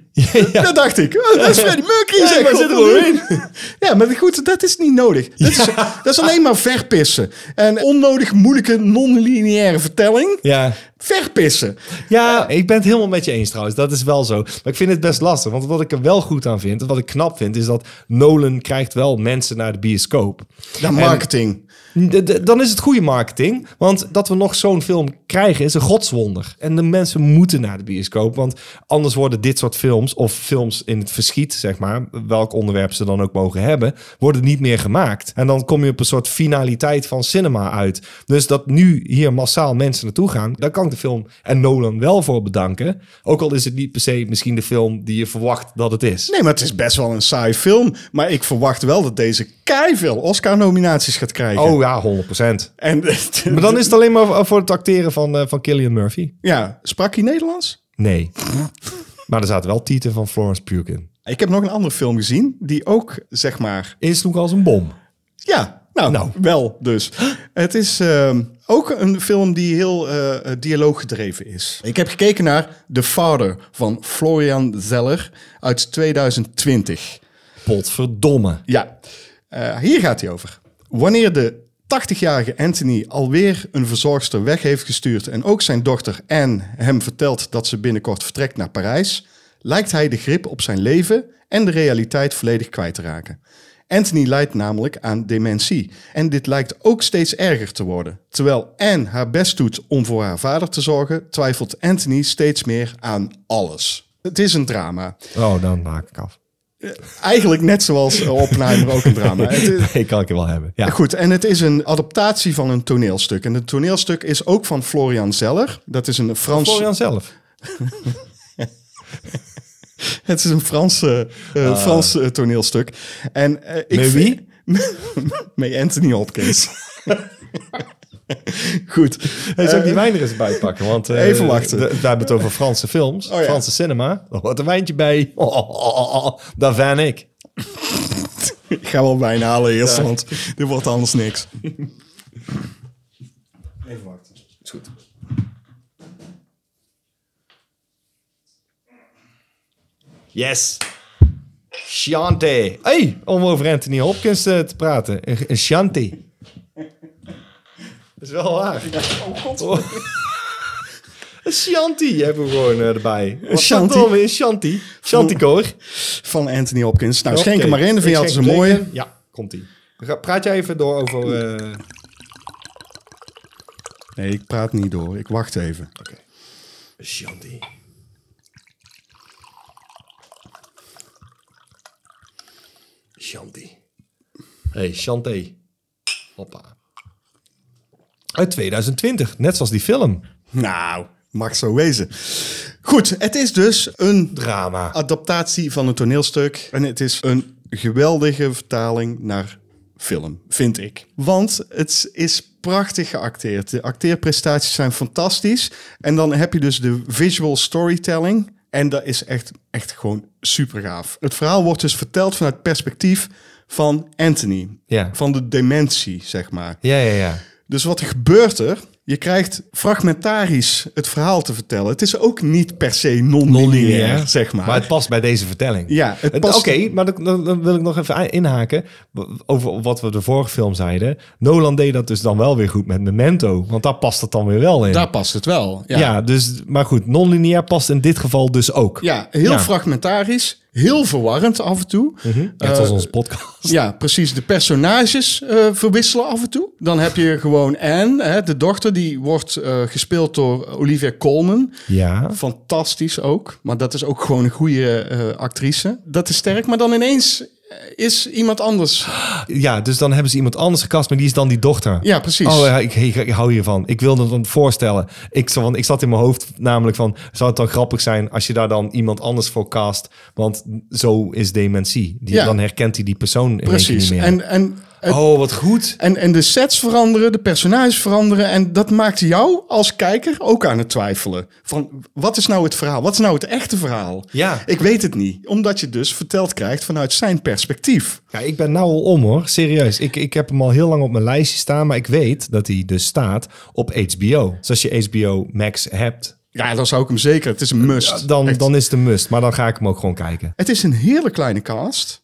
Speaker 2: Dat dacht ik. Oh, dat is Freddie Mercury. zeg.
Speaker 1: maar zit er wel in.
Speaker 2: Ja, maar goed, dat is niet nodig. Dat, is, dat is alleen maar verpissen. En onnodig moeilijke non-lineaire vertelling.
Speaker 1: Ja.
Speaker 2: Verpissen.
Speaker 1: Ja, ik ben het helemaal met je eens trouwens. Dat is wel zo. Maar ik vind het best lastig. Want wat ik er wel goed aan vind, en wat ik knap vind, is dat Nolan krijgt wel mensen naar de bioscoop.
Speaker 2: Ja, marketing.
Speaker 1: D- d- Dan is het goede marketing. Want dat we nog zo'n film krijgen is een godswonder. En de mensen moeten naar de bioscoop. Want anders worden dit soort films, of films in het verschiet, zeg maar, welk onderwerp ze dan ook mogen hebben, worden niet meer gemaakt. En dan kom je op een soort finaliteit van cinema uit. Dus dat nu hier massaal mensen naartoe gaan, daar kan ik de film en Nolan wel voor bedanken. Ook al is het niet per se misschien de film die je verwacht dat het is.
Speaker 2: Nee, maar het is best wel een saai film. Maar ik verwacht wel dat deze kei veel Oscar-nominaties gaat krijgen.
Speaker 1: Oh ja, 100%.
Speaker 2: En,
Speaker 1: Maar dan is het alleen maar voor het acteren van, eh, van Killian Murphy.
Speaker 2: Ja, sprak hij Nederlands?
Speaker 1: Nee. maar er zaten wel tieten van Florence Pugh in.
Speaker 2: Ik heb nog een andere film gezien die ook, zeg maar...
Speaker 1: Insloeg als een bom.
Speaker 2: Ja, nou,
Speaker 1: Nou.
Speaker 2: wel dus. Het is ehm, ook een film die heel eh dialooggedreven is. Ik heb gekeken naar The Father van Florian Zeller uit 2020.
Speaker 1: Potverdomme.
Speaker 2: Ja, Eh, hier gaat hij over. Wanneer de 80-jarige Anthony alweer een verzorgster weg heeft gestuurd en ook zijn dochter Anne hem vertelt dat ze binnenkort vertrekt naar Parijs, lijkt hij de grip op zijn leven en de realiteit volledig kwijt te raken. Anthony lijdt namelijk aan dementie en dit lijkt ook steeds erger te worden. Terwijl Anne haar best doet om voor haar vader te zorgen, twijfelt Anthony steeds meer aan alles. Het is een drama.
Speaker 1: Oh, dan maak ik af.
Speaker 2: Eigenlijk net zoals eh, Oppenheimer ook een drama. Het is,
Speaker 1: Nee, kan ik hem wel hebben. Ja.
Speaker 2: Goed, en het is een adaptatie van een toneelstuk. En het toneelstuk is ook van Florian Zeller. Dat is een Frans.
Speaker 1: Florian zelf.
Speaker 2: Het is een Franse, eh, Frans eh, toneelstuk. En, eh, ik
Speaker 1: Ah. Met wie?
Speaker 2: Met Anthony Hopkins. Goed.
Speaker 1: Hij zou ook die wijn er eens bij pakken. Want eh,
Speaker 2: Even wachten.
Speaker 1: d- Eh, We hebben het over Franse films.
Speaker 2: ja.
Speaker 1: Franse cinema. Oh, wat een wijntje bij. Oh, oh, oh, oh, oh. Daar van ik.
Speaker 2: Eh, Ik ga wel wijn halen eerst, want dit wordt anders niks. Even wachten. Is goed.
Speaker 1: Yes. Shanti. hey, om over Anthony Hopkins eh, te praten. Een- Een Shanti. Dat is wel waar.
Speaker 2: Oh god.
Speaker 1: Een Shanti hebben we gewoon eh, erbij. Een
Speaker 2: Shanti?
Speaker 1: Shanti. Een Shanti. Shanti-koor.
Speaker 2: Van Anthony Hopkins. Nou, schenk
Speaker 1: Oké.
Speaker 2: hem Hm. maar in. Dan vind je
Speaker 1: Ik
Speaker 2: altijd
Speaker 1: schenk
Speaker 2: een mooie. Hm.
Speaker 1: hem in. Ja, komt-ie. Dan ga- Praat jij even door over... eh,
Speaker 2: Nee, ik praat niet door. Ik wacht even.
Speaker 1: Oké. Shanti. Shanti. hey, Shanti. Hoppa. Uit 2020, net zoals die film.
Speaker 2: Nou, mag zo wezen. Goed, het is dus een
Speaker 1: Drama.
Speaker 2: adaptatie van een toneelstuk. En het is een geweldige vertaling naar film, vind ik. Want het is prachtig geacteerd. De acteerprestaties zijn fantastisch. En dan heb je dus de visual storytelling. En dat is echt, echt gewoon super gaaf. Het verhaal wordt dus verteld vanuit het perspectief van Anthony.
Speaker 1: Ja.
Speaker 2: Van de dementie, zeg maar.
Speaker 1: Ja, ja, ja.
Speaker 2: Dus wat er gebeurt er? Je krijgt fragmentarisch het verhaal te vertellen. Het is ook niet per se non-lineair, zeg maar.
Speaker 1: Maar het past bij deze vertelling.
Speaker 2: Ja, het
Speaker 1: Het-
Speaker 2: past-
Speaker 1: Oké, maar dan, dan- dan wil ik nog even i- inhaken w- over wat we de vorige film zeiden. Nolan deed dat dus dan wel weer goed met Memento, want daar past het dan weer wel in.
Speaker 2: Daar past het wel. Ja,
Speaker 1: ja.
Speaker 2: ja.
Speaker 1: dus, maar goed, non-lineair past in dit geval dus ook.
Speaker 2: heel
Speaker 1: Ja.
Speaker 2: fragmentarisch. Heel verwarrend af en toe.
Speaker 1: Net als onze podcast.
Speaker 2: Ja, precies. De personages eh, verwisselen af en toe. Dan heb je gewoon Anne, hè, de dochter, die wordt eh, gespeeld door Olivia Colman.
Speaker 1: Ja.
Speaker 2: Fantastisch ook. Maar dat is ook gewoon een goede eh, actrice. Dat is sterk. Maar dan ineens eh, is iemand anders.
Speaker 1: ja, dus dan hebben ze iemand anders gekast, maar die is dan die dochter.
Speaker 2: Ja, precies.
Speaker 1: Oh, ja, ik, ik, ik hou hiervan. Ik wilde het dan voorstellen. Ik, zo- want ik zat in mijn hoofd namelijk van... zou het dan grappig zijn als je daar dan iemand anders voor cast? Want zo is dementie. Die,
Speaker 2: Ja.
Speaker 1: Dan herkent hij die persoon in één keer
Speaker 2: precies.
Speaker 1: niet meer.
Speaker 2: En, en, het-
Speaker 1: oh, wat goed.
Speaker 2: En, en de sets veranderen, de personages veranderen. En dat maakt jou als kijker ook aan het twijfelen. Van wat is nou het verhaal? Wat is nou het echte verhaal?
Speaker 1: Ja.
Speaker 2: Ik weet het niet. Omdat je dus verteld krijgt vanuit zijn perspectief.
Speaker 1: Ja, ik ben nou al om hoor, serieus. Ik, ik heb hem al heel lang op mijn lijstje staan, maar ik weet dat hij dus staat op HBO. Dus als je HBO Max hebt,
Speaker 2: Ja, dan zou ik hem zeker. Het is een must.
Speaker 1: dan,
Speaker 2: Echt.
Speaker 1: dan is het een must. Maar dan ga ik hem ook gewoon kijken.
Speaker 2: Het is een hele kleine cast.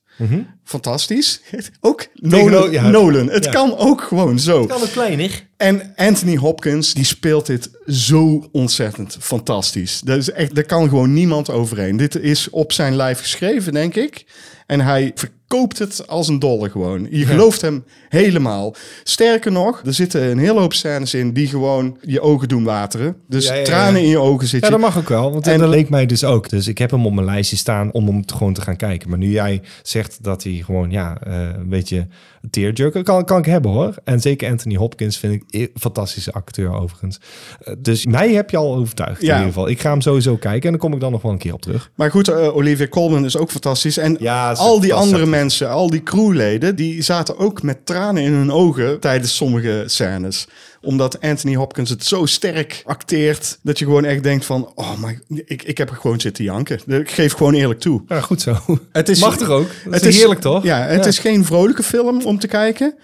Speaker 2: Fantastisch. Ook
Speaker 1: Mhm. Tegen-
Speaker 2: Nolan.
Speaker 1: ja.
Speaker 2: Nolan. Het
Speaker 1: Ja.
Speaker 2: kan ook gewoon zo.
Speaker 1: het kleiner.
Speaker 2: En Anthony Hopkins, die speelt dit zo ontzettend fantastisch. Dat is echt, daar kan gewoon niemand overheen. Dit is op zijn lijf geschreven, denk ik. En hij verkoopt het als een dolle gewoon. Je gelooft hem helemaal. Sterker nog, er zitten een hele hoop scènes in die gewoon je ogen doen wateren. Dus
Speaker 1: Ja, ja, ja.
Speaker 2: tranen in je ogen
Speaker 1: Ja,
Speaker 2: zitten.
Speaker 1: dat mag ook wel, want
Speaker 2: En-
Speaker 1: dat leek mij dus ook. Dus ik heb hem op mijn lijstje staan om hem te- gewoon te gaan kijken. Maar nu jij zegt dat hij gewoon, ja, eh, een beetje een tearjerker kan, kan ik hebben hoor. En zeker Anthony Hopkins vind ik een fantastische acteur overigens. Eh, dus mij heb je al overtuigd
Speaker 2: Ja.
Speaker 1: in ieder geval. Ik ga hem sowieso kijken en dan kom ik dan nog wel een keer op terug.
Speaker 2: Maar goed, eh, Olivia Colman is ook fantastisch. En
Speaker 1: Ja, ze-
Speaker 2: al die
Speaker 1: dat is
Speaker 2: andere
Speaker 1: echt-
Speaker 2: mensen, al die crewleden, die zaten ook met tranen in hun ogen tijdens sommige scènes. Omdat Anthony Hopkins het zo sterk acteert, dat je gewoon echt denkt van, oh my, ik, ik heb er gewoon zitten janken. Ik geef gewoon eerlijk toe.
Speaker 1: Ja, goed zo.
Speaker 2: Het is,
Speaker 1: Mag toch ook? Dat is heerlijk, toch?
Speaker 2: Ja, het
Speaker 1: Ja.
Speaker 2: is geen vrolijke film om te kijken.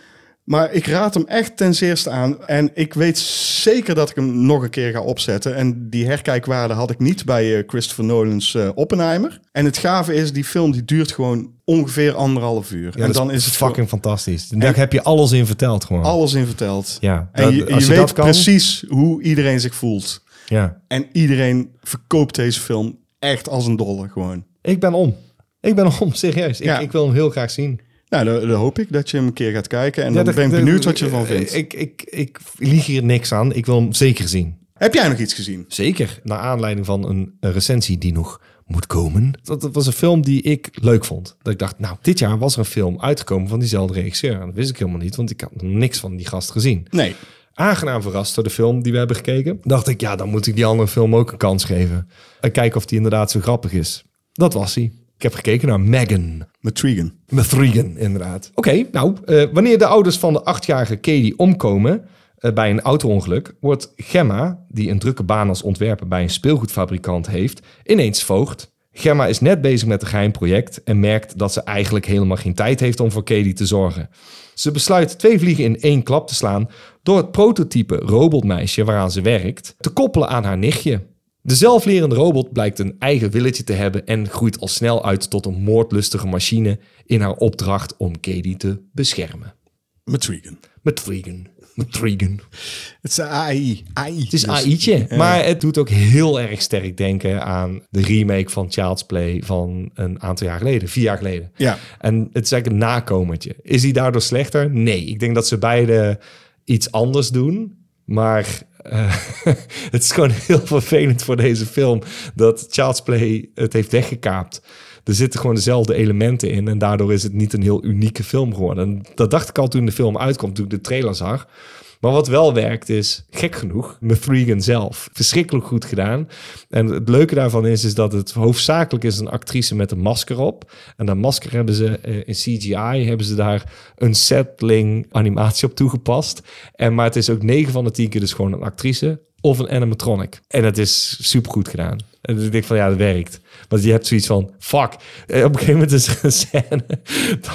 Speaker 2: Maar ik raad hem echt ten zeerste aan. En ik weet zeker dat ik hem nog een keer ga opzetten. En die herkijkwaarde had ik niet bij eh, Christopher Nolan's eh, Oppenheimer. En het gave is, die film die duurt gewoon ongeveer anderhalf uur.
Speaker 1: Ja,
Speaker 2: en
Speaker 1: dat
Speaker 2: dan is het
Speaker 1: fucking fantastisch. Daar heb je alles in verteld gewoon.
Speaker 2: alles in verteld.
Speaker 1: Ja,
Speaker 2: en
Speaker 1: dat-
Speaker 2: je, je
Speaker 1: als je
Speaker 2: weet
Speaker 1: dat kan-
Speaker 2: precies hoe iedereen zich voelt.
Speaker 1: Ja.
Speaker 2: En iedereen verkoopt deze film echt als een dolle gewoon.
Speaker 1: Ik ben om. Ik ben om, serieus. Ik,
Speaker 2: Ja.
Speaker 1: ik wil hem heel graag zien.
Speaker 2: Nou, dan, dan hoop ik dat je hem een keer gaat kijken. En
Speaker 1: Ja, eh, dat-
Speaker 2: dan ben ik
Speaker 1: dat-
Speaker 2: benieuwd wat je ervan vindt.
Speaker 1: Ik, ik, ik lieg hier niks aan. Ik wil hem zeker zien.
Speaker 2: Heb jij nog iets gezien?
Speaker 1: Zeker. Naar aanleiding van een, een recensie die nog moet komen. Dat, dat was een film die ik leuk vond. Dat ik dacht, nou, dit jaar was er een film uitgekomen van diezelfde regisseur. En dat wist ik helemaal niet, want ik had nog niks van die gast gezien.
Speaker 2: Nee.
Speaker 1: Aangenaam verrast door de film die we hebben gekeken. Dacht ik, ja, dan moet ik die andere film ook een kans geven. En kijken of die inderdaad zo grappig is. Dat was hij. Ik heb gekeken naar Megan.
Speaker 2: Met Trigan.
Speaker 1: Methrigan, inderdaad. Oké, nou, eh, wanneer de ouders van de achtjarige Katie omkomen eh, bij een auto-ongeluk, wordt Gemma, die een drukke baan als ontwerper bij een speelgoedfabrikant heeft, ineens voogd. Gemma is net bezig met een geheim project en merkt dat ze eigenlijk helemaal geen tijd heeft om voor Katie te zorgen. Ze besluit twee vliegen in één klap te slaan door het prototype robotmeisje waaraan ze werkt te koppelen aan haar nichtje. De zelflerende robot blijkt een eigen willetje te hebben en groeit al snel uit tot een moordlustige machine in haar opdracht om Katie te beschermen.
Speaker 2: Met Regan.
Speaker 1: Met Trigan. Met Trigan.
Speaker 2: Het is AI. AI.
Speaker 1: Het is AI'tje. Maar het doet ook heel erg sterk denken aan de remake van Child's Play van een aantal jaar geleden. Vier jaar geleden.
Speaker 2: Ja.
Speaker 1: En het is eigenlijk een nakomertje. Is die daardoor slechter? Nee. Ik denk dat ze beide iets anders doen. Maar eh, het is gewoon heel vervelend voor deze film dat Child's Play het heeft weggekaapt. Er zitten gewoon dezelfde elementen in en daardoor is het niet een heel unieke film geworden. En dat dacht ik al toen de film uitkwam, toen ik de trailer zag. Maar wat wel werkt is, gek genoeg, Mithrigan zelf. Verschrikkelijk goed gedaan. En het leuke daarvan is, is dat het hoofdzakelijk is een actrice met een masker op. En dat masker hebben ze eh, in CGI, hebben ze daar een settling animatie op toegepast. En, maar het is ook 9 van de 10 keer dus gewoon een actrice of een animatronic. En dat is supergoed gedaan. En ik denk van, ja, dat werkt. Want je hebt zoiets van, fuck. Eh, Op een gegeven moment is er een scène.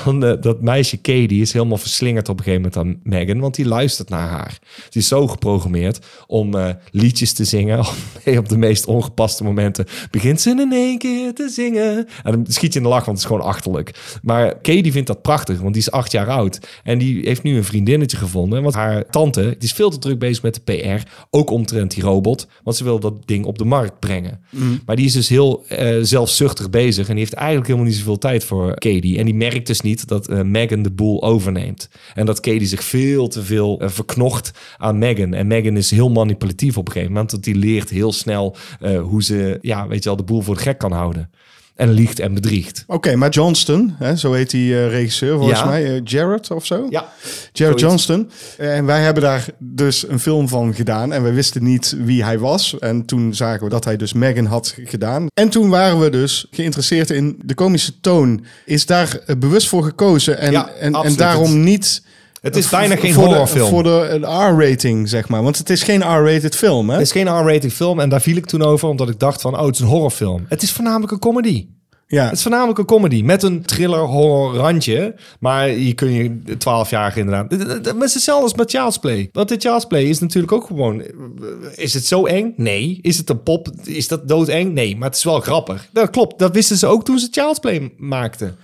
Speaker 1: Dan, eh, dat meisje Katie is helemaal verslingerd op een gegeven moment aan Megan. Want die luistert naar haar. Die is zo geprogrammeerd om eh, liedjes te zingen. Nee, op de meest ongepaste momenten begint ze in één keer te zingen. En dan schiet je in de lach, want het is gewoon achterlijk. Maar Katie vindt dat prachtig, want die is acht jaar oud. En die heeft nu een vriendinnetje gevonden. Want haar tante die is veel te druk bezig met de PR. Ook omtrent die robot. Want ze wil dat ding op de markt brengen.
Speaker 2: Mm.
Speaker 1: Maar die is dus heel eh, zelfzuchtig bezig. En die heeft eigenlijk helemaal niet zoveel tijd voor Katie. En die merkt dus niet dat eh, Megan de boel overneemt. En dat Katie zich veel te veel eh, verknocht aan Megan. En Megan is heel manipulatief op een gegeven moment. Want die leert heel snel eh, hoe ze ja, weet je wel, de boel voor de gek kan houden. En liegt en bedriegt.
Speaker 2: Oké, maar Johnston, hè, zo heet die eh, regisseur volgens
Speaker 1: Ja.
Speaker 2: mij. eh, Jared of zo?
Speaker 1: Ja,
Speaker 2: Jared
Speaker 1: Zoiets.
Speaker 2: Johnston. Eh, En wij hebben daar dus een film van gedaan. En we wisten niet wie hij was. En toen zagen we dat hij dus Megan had gedaan. En toen waren we dus geïnteresseerd in de komische toon. Is daar eh, bewust voor gekozen. En,
Speaker 1: Ja,
Speaker 2: en, en
Speaker 1: absoluut.
Speaker 2: daarom niet...
Speaker 1: het is
Speaker 2: v-
Speaker 1: bijna geen
Speaker 2: voor de-
Speaker 1: horrorfilm.
Speaker 2: Voor de een R-rating, zeg maar. Want het is geen R-rated film, hè?
Speaker 1: Het is geen R-rated film en daar viel ik toen over omdat ik dacht van, oh, het is een horrorfilm. Het is voornamelijk een comedy.
Speaker 2: ja.
Speaker 1: Het is voornamelijk een comedy met een thriller-horror randje. Maar je kun je 12 jaar inderdaad. Het- het- Het is hetzelfde als met Child's Play. Want dit Child's Play is natuurlijk ook gewoon... eh, Is het zo eng? Nee. Is het een pop? Is dat doodeng? Nee. Maar het is wel grappig. Dat klopt. Dat wisten ze ook toen ze Child's Play maakten.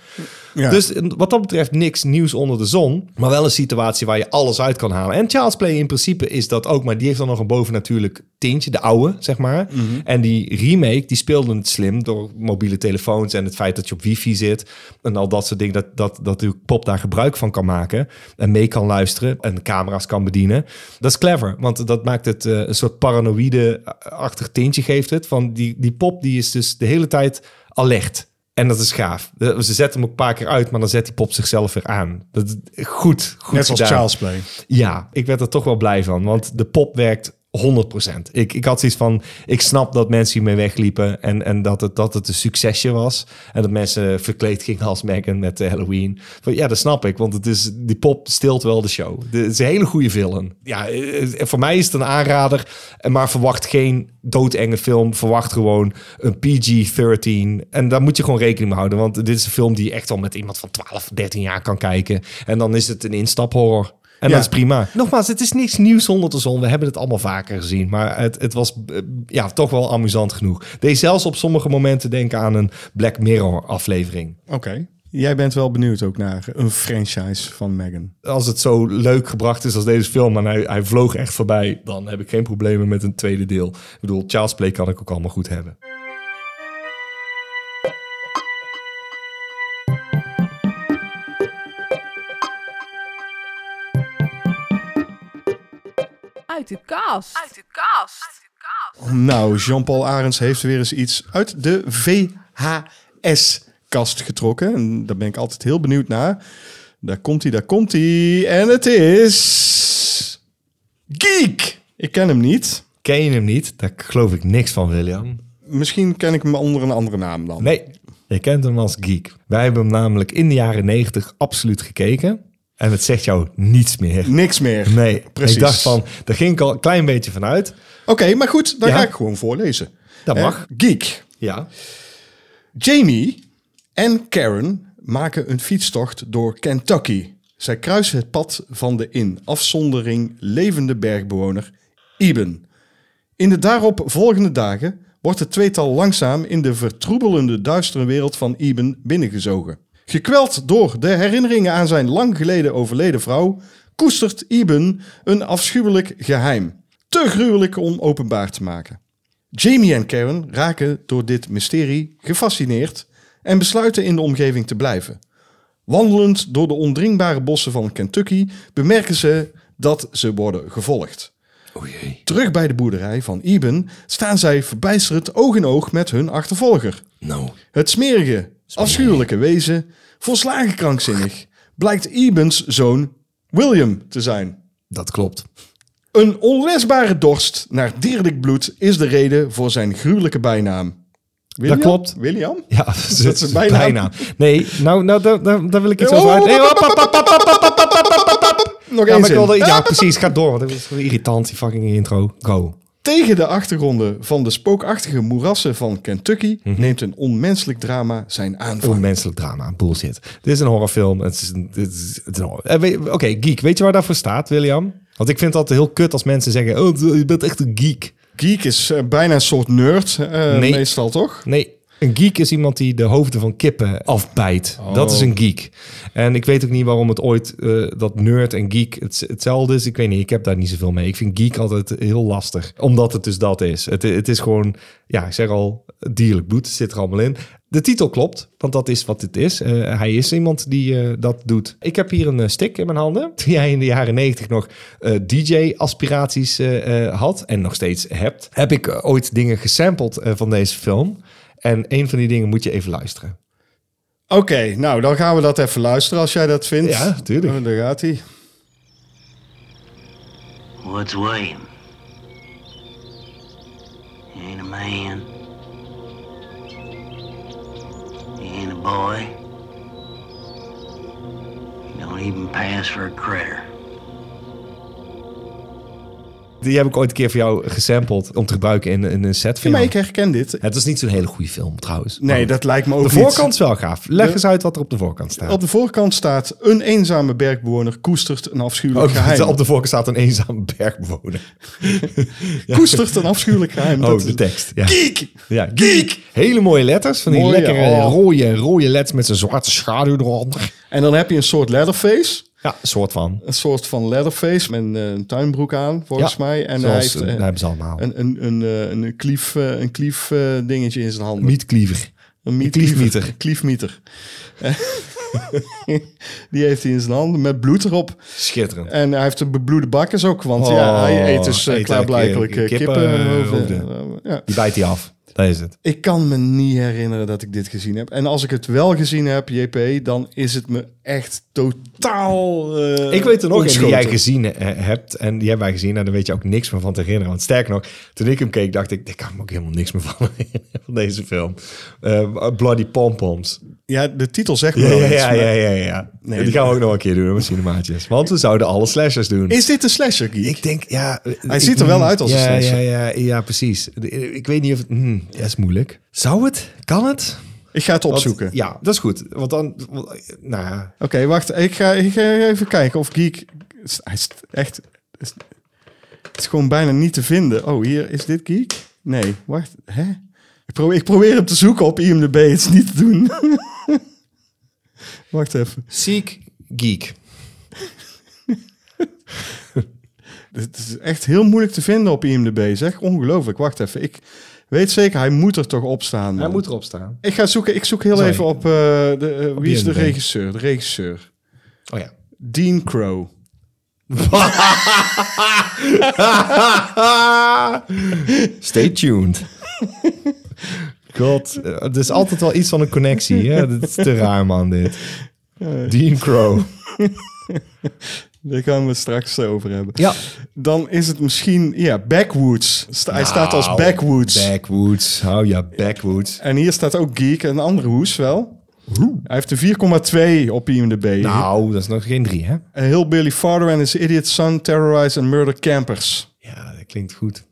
Speaker 2: ja.
Speaker 1: Dus wat dat betreft niks nieuws onder de zon. Maar wel een situatie waar je alles uit kan halen. En Child's Play in principe is dat ook. Maar die heeft dan nog een bovennatuurlijk tintje. De oude, zeg maar. En die remake, die speelde het slim door mobiele telefoons... en het feit dat je op wifi zit. En al dat soort dingen. Dat, dat, dat de pop daar gebruik van kan maken. En mee kan luisteren. En camera's kan bedienen. Dat is clever. Want dat maakt het eh, een soort paranoïde-achtig tintje geeft het. Van die, die pop die is dus de hele tijd alert. En dat is gaaf. De- Ze zetten hem ook een paar keer uit, maar dan zet die pop zichzelf weer aan. Dat is goed, goed
Speaker 2: Net zoals
Speaker 1: gedaan.
Speaker 2: Charles Play.
Speaker 1: Ja, ik werd er toch wel blij van, want de pop werkt 100%. Ik, ik had zoiets van, ik snap dat mensen hiermee wegliepen en, en dat, het, dat het een succesje was. En dat mensen verkleed gingen als Megan met eh, Halloween. Van, ja, dat snap ik, want het is, die pop stilt wel de show. De- het is een hele goede film. Ja, eh, eh, voor mij is het een aanrader, eh, maar verwacht geen doodenge film. Verwacht gewoon een PG-13. En daar moet je gewoon rekening mee houden, want dit is een film die je echt al met iemand van 12, 13 jaar kan kijken. En dan is het een instaphorror. En
Speaker 2: Ja.
Speaker 1: dat is prima. Nogmaals, het is niks nieuws onder de zon. We hebben het allemaal vaker gezien. Maar het, het was eh, ja, toch wel amusant genoeg. Deze zelfs op sommige momenten denken aan een Black Mirror aflevering.
Speaker 2: Oké. Jij bent wel benieuwd ook naar een franchise van Megan.
Speaker 1: Als het zo leuk gebracht is als deze film... en hij, hij vloog echt voorbij... dan heb ik geen problemen met een tweede deel. Ik bedoel, Child's Play kan ik ook allemaal goed hebben.
Speaker 4: Uit de kast. Uit de kast. Uit de kast.
Speaker 2: Nou, Jean-Paul Arends heeft weer eens iets uit de VHS-kast getrokken. En daar ben ik altijd heel benieuwd naar. Daar komt hij, daar komt hij. En het is... Geek! Ik ken hem niet.
Speaker 1: Ken je hem niet? Daar geloof ik niks van, William.
Speaker 2: Misschien ken ik hem onder een andere naam dan.
Speaker 1: Nee, je kent hem als geek. Wij hebben hem namelijk in de jaren 90 absoluut gekeken. En het zegt jou niets meer.
Speaker 2: Niks meer.
Speaker 1: Nee,
Speaker 2: Precies.
Speaker 1: ik dacht van, daar ging ik al een klein beetje van uit.
Speaker 2: Oké, maar goed, dan
Speaker 1: Ja.
Speaker 2: ga ik gewoon voorlezen.
Speaker 1: Dat
Speaker 2: Eh,
Speaker 1: mag.
Speaker 2: Geek.
Speaker 1: Ja.
Speaker 2: Jamie en Karen maken een fietstocht door Kentucky. Zij kruisen het pad van de in afzondering levende bergbewoner Eben. In de daarop volgende dagen wordt het tweetal langzaam in de vertroebelende duistere wereld van Eben binnengezogen. Gekweld door de herinneringen aan zijn lang geleden overleden vrouw, koestert Eben een afschuwelijk geheim. Te gruwelijk om openbaar te maken. Jamie en Karen raken door dit mysterie gefascineerd en besluiten in de omgeving te blijven. Wandelend door de ondringbare bossen van Kentucky bemerken ze dat ze worden gevolgd.
Speaker 1: O jee.
Speaker 2: Terug bij de boerderij van Eben staan zij verbijsterend oog in oog met hun achtervolger.
Speaker 1: Nou.
Speaker 2: Het smerige, afschuwelijke wezen, volslagen krankzinnig, blijkt Ebens zoon William te zijn.
Speaker 1: Dat klopt.
Speaker 2: Een onlesbare dorst naar dierlijk bloed is de reden voor zijn gruwelijke bijnaam. William?
Speaker 1: klopt.
Speaker 2: William?
Speaker 1: Ja, dat is,
Speaker 2: is bijna.
Speaker 1: bijna. Nee, nou, nou daar, daar, daar wil ik iets
Speaker 2: Oh,
Speaker 1: over uit.
Speaker 2: oh,
Speaker 1: Nee,
Speaker 2: oh,
Speaker 1: hop, hop, hop, hop, hop, hop, hop, hop, hop, hop, hop.
Speaker 2: Nog
Speaker 1: Ja,
Speaker 2: één
Speaker 1: maar ik
Speaker 2: zin.
Speaker 1: wilde- ja, precies. Ga door, want het is irritant, die fucking intro. Go.
Speaker 2: Tegen de achtergronden van de spookachtige moerassen van Kentucky
Speaker 1: Mhm.
Speaker 2: neemt een onmenselijk drama zijn aanvang.
Speaker 1: Onmenselijk drama. Bullshit. Dit is een horrorfilm. Het is een, dit is, het is een horror- Eh, weet- Oké, geek. Weet je waar daarvoor staat, William? Want ik vind het altijd heel kut als mensen zeggen... Oh, je bent echt een geek.
Speaker 2: Geek is eh, bijna een soort nerd, eh,
Speaker 1: Nee.
Speaker 2: meestal toch?
Speaker 1: Nee, een geek is iemand die de hoofden van kippen afbijt. Dat is een geek. En ik weet ook niet waarom het ooit eh, dat nerd en geek het, hetzelfde is. Ik weet niet, ik heb daar niet zoveel mee. Ik vind geek altijd heel lastig, omdat het dus dat is. Het, het is gewoon, ja, ik zeg al, dierlijk bloed zit er allemaal in. De titel klopt, want dat is wat het is. Eh, hij is iemand die eh, dat doet. Ik heb hier een eh, stick in mijn handen. Die hij in de jaren negentig nog eh, DJ-aspiraties eh, eh, had en nog steeds hebt. Heb ik eh, ooit dingen gesampled eh, van deze film. En een van die dingen moet je even luisteren.
Speaker 2: Oké, nou dan gaan we dat even luisteren als jij dat vindt.
Speaker 1: Ja, tuurlijk.
Speaker 2: Oh, daar gaat hij.
Speaker 5: What's William? He ain't a man. He ain't a boy. He don't even pass for a critter.
Speaker 1: Die heb ik ooit een keer voor jou gesampled om te gebruiken in, in een setfilm.
Speaker 2: Maar ik herken dit.
Speaker 1: Het is niet zo'n hele goede film trouwens.
Speaker 2: Nee,
Speaker 1: Maar
Speaker 2: dat lijkt me ook
Speaker 1: Oh. de
Speaker 2: niet.
Speaker 1: voorkant is wel gaaf. Leg
Speaker 2: De-
Speaker 1: eens uit wat er op de voorkant staat.
Speaker 2: Op de voorkant staat een eenzame bergbewoner koestert een afschuwelijk geheim.
Speaker 1: Oh, Op, op de voorkant staat een eenzaam bergbewoner.
Speaker 2: Koestert een afschuwelijk geheim.
Speaker 1: Oh,
Speaker 2: Dat is-
Speaker 1: de tekst. Ja.
Speaker 2: Geek!
Speaker 1: Ja, geek. Hele mooie letters. Van die
Speaker 2: Mooie,
Speaker 1: lekkere
Speaker 2: oh.
Speaker 1: rode, rode letters met zijn zwarte schaduw eronder.
Speaker 2: En dan heb je een soort leatherface.
Speaker 1: Ja, een soort van.
Speaker 2: Een soort van leatherface met een, eh, een tuinbroek aan, volgens
Speaker 1: Ja,
Speaker 2: mij. En hij
Speaker 1: Zoals,
Speaker 2: heeft
Speaker 1: eh,
Speaker 2: eh,
Speaker 1: dat hebben ze allemaal.
Speaker 2: een, een, een, eh, een klief, eh, een klief eh, dingetje in zijn handen.
Speaker 1: Mietkleaver.
Speaker 2: Een miet-
Speaker 1: Een kliefmieter.
Speaker 2: een kliefmieter. Die heeft hij in zijn handen met bloed erop.
Speaker 1: Schitterend.
Speaker 2: En hij heeft een bebloede bakkers ook, want
Speaker 1: Oh,
Speaker 2: ja, hij eet dus eh,
Speaker 1: eet elke
Speaker 2: klaarblijkelijk
Speaker 1: keer
Speaker 2: eh, kippen.
Speaker 1: kippenhoofden.
Speaker 2: Eh, ja.
Speaker 1: Die bijt hij af. Dat is het.
Speaker 2: Ik kan me niet herinneren dat ik dit gezien heb. En als ik het wel gezien heb, JP, dan is het me echt totaal. eh,
Speaker 1: Ik weet er nog een die
Speaker 2: ontschoten.
Speaker 1: jij gezien eh, hebt. En die hebben wij gezien. En daar weet je ook niks meer van te herinneren. Want sterk nog, toen ik hem keek, dacht ik... Ik kan me ook helemaal niks meer van herinneren van deze film. Eh, Bloody Pompoms.
Speaker 2: Ja, de titel zegt me
Speaker 1: Ja,
Speaker 2: wel
Speaker 1: ja,
Speaker 2: iets,
Speaker 1: ja,
Speaker 2: maar-
Speaker 1: ja, ja, ja.
Speaker 2: Nee,
Speaker 1: die
Speaker 2: nee.
Speaker 1: gaan we ook nog een keer doen, hoor, met cinemaatjes. Want we zouden alle slashers doen.
Speaker 2: Is dit een slasher geek?
Speaker 1: Ik denk, ja...
Speaker 2: Hij
Speaker 1: ik- mm,
Speaker 2: ziet er wel uit als een
Speaker 1: ja,
Speaker 2: slasher.
Speaker 1: Ja, ja, ja, precies. Ik weet niet of... het- hmm, dat is moeilijk. Zou het? Kan het?
Speaker 2: Ik ga het
Speaker 1: Want-
Speaker 2: opzoeken.
Speaker 1: ja, dat is goed. Want dan... want- Nou ja...
Speaker 2: Oké, wacht. Ik ga, ik ga even kijken of geek. Hij is echt. is- Het is gewoon bijna niet te vinden. Oh, hier is dit geek? Nee, wacht. Hè? Ik probeer, ik probeer hem te zoeken op IMDb. Het is niet te doen. wacht even.
Speaker 1: Seek Geek.
Speaker 2: Het is echt heel moeilijk te vinden op IMDb, zeg. Ongelooflijk. Wacht even. Ik weet zeker, hij moet er toch op staan. man.
Speaker 1: Hij moet erop staan.
Speaker 2: Ik ga zoeken. Ik zoek heel
Speaker 1: Sorry.
Speaker 2: even op... eh, de, eh, wie is de
Speaker 1: IMDb.
Speaker 2: regisseur? De regisseur.
Speaker 1: Oh ja.
Speaker 2: Dean Crow.
Speaker 1: Stay tuned. God, eh, er is altijd wel iets van een connectie. Hè? Dat is te raar, man, dit. Dean Crow.
Speaker 2: Daar gaan we het straks over hebben.
Speaker 1: Ja.
Speaker 2: Dan is het misschien... Ja, Backwoods. Sta-
Speaker 1: Nou,
Speaker 2: hij staat als Backwoods.
Speaker 1: Backwoods. Hou ja, Backwoods.
Speaker 2: En hier staat ook Geek, een andere hoes wel. Hij heeft een 4,2 op IMDb.
Speaker 1: Nou, dat is nog geen drie, hè?
Speaker 2: A Hillbilly Father and His Idiot Son Terrorize and Murder Campers.
Speaker 1: Ja, dat klinkt goed.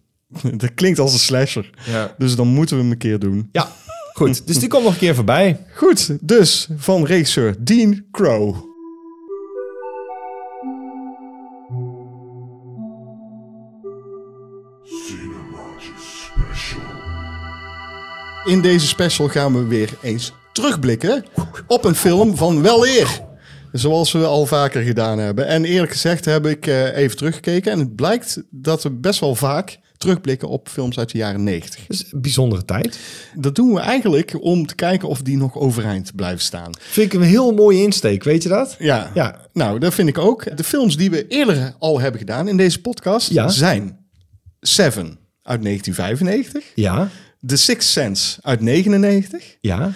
Speaker 2: Dat klinkt als een slasher.
Speaker 1: Ja.
Speaker 2: Dus dan moeten we hem een keer doen.
Speaker 1: Ja, goed. Dus die komt nog een keer voorbij.
Speaker 2: Goed, dus van regisseur Dean Crow.
Speaker 6: Cinematisch Special.
Speaker 2: In deze special gaan we weer eens terugblikken op een film van wel eer. Zoals we al vaker gedaan hebben. En eerlijk gezegd heb ik eh, even teruggekeken. En het blijkt dat we best wel vaak terugblikken op films uit de jaren 90.
Speaker 1: Dat is een bijzondere tijd.
Speaker 2: Dat doen we eigenlijk om te kijken of die nog overeind blijven staan.
Speaker 1: Vind ik een heel mooie insteek, weet je dat?
Speaker 2: Ja.
Speaker 1: Ja.
Speaker 2: nou, dat vind ik ook. De films die we eerder al hebben gedaan in deze podcast
Speaker 1: Ja.
Speaker 2: zijn Seven uit 1995,
Speaker 1: Ja,
Speaker 2: The Sixth Sense uit 99,
Speaker 1: ja,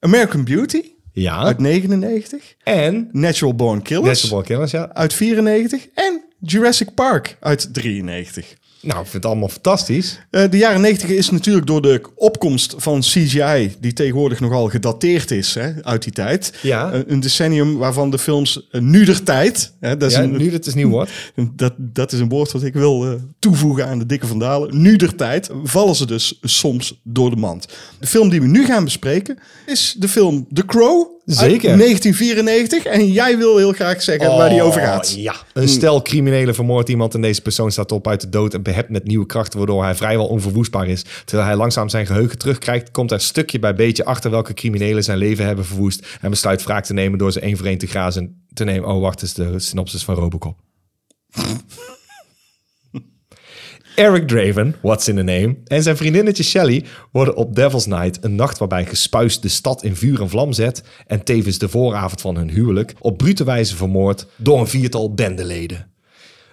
Speaker 2: American Beauty
Speaker 1: ja.
Speaker 2: uit 99,
Speaker 1: En
Speaker 2: Natural Born Killers
Speaker 1: National Killers, ja.
Speaker 2: uit 94 en Jurassic Park uit 93.
Speaker 1: Nou, ik vind het allemaal fantastisch.
Speaker 2: Eh, de jaren 90 is natuurlijk door de opkomst van CGI, die tegenwoordig nogal gedateerd is hè, uit die tijd. eh,
Speaker 1: Ja.
Speaker 2: Een- een decennium waarvan de films uh, nuder tijd. Hè, dat is
Speaker 1: Ja,
Speaker 2: een,
Speaker 1: nu dat is nieuw wordt.
Speaker 2: Dat, dat is een woord wat ik wil eh, toevoegen aan de dikke vandalen. Nu der tijd vallen ze dus soms door de mand. De film die we nu gaan bespreken is de film The Crow
Speaker 1: Zeker.
Speaker 2: uit 1994. En jij wil heel graag zeggen waar die over gaat. Hm.
Speaker 1: Ja. Een stel criminelen vermoordt iemand en deze persoon staat op uit de dood en behept met nieuwe krachten, waardoor hij vrijwel onverwoestbaar is. Terwijl hij langzaam zijn geheugen terugkrijgt, komt hij stukje bij beetje achter welke criminelen zijn leven hebben verwoest en besluit wraak te nemen door ze één voor één te grazen te nemen. Oh, wacht, is de synopsis van Robocop. Eric Draven, what's in the name, en zijn vriendinnetje Shelly worden op Devil's Night, een nacht waarbij gespuis de stad in vuur en vlam zet en tevens de vooravond van hun huwelijk, op brute wijze vermoord door een viertal bendeleden.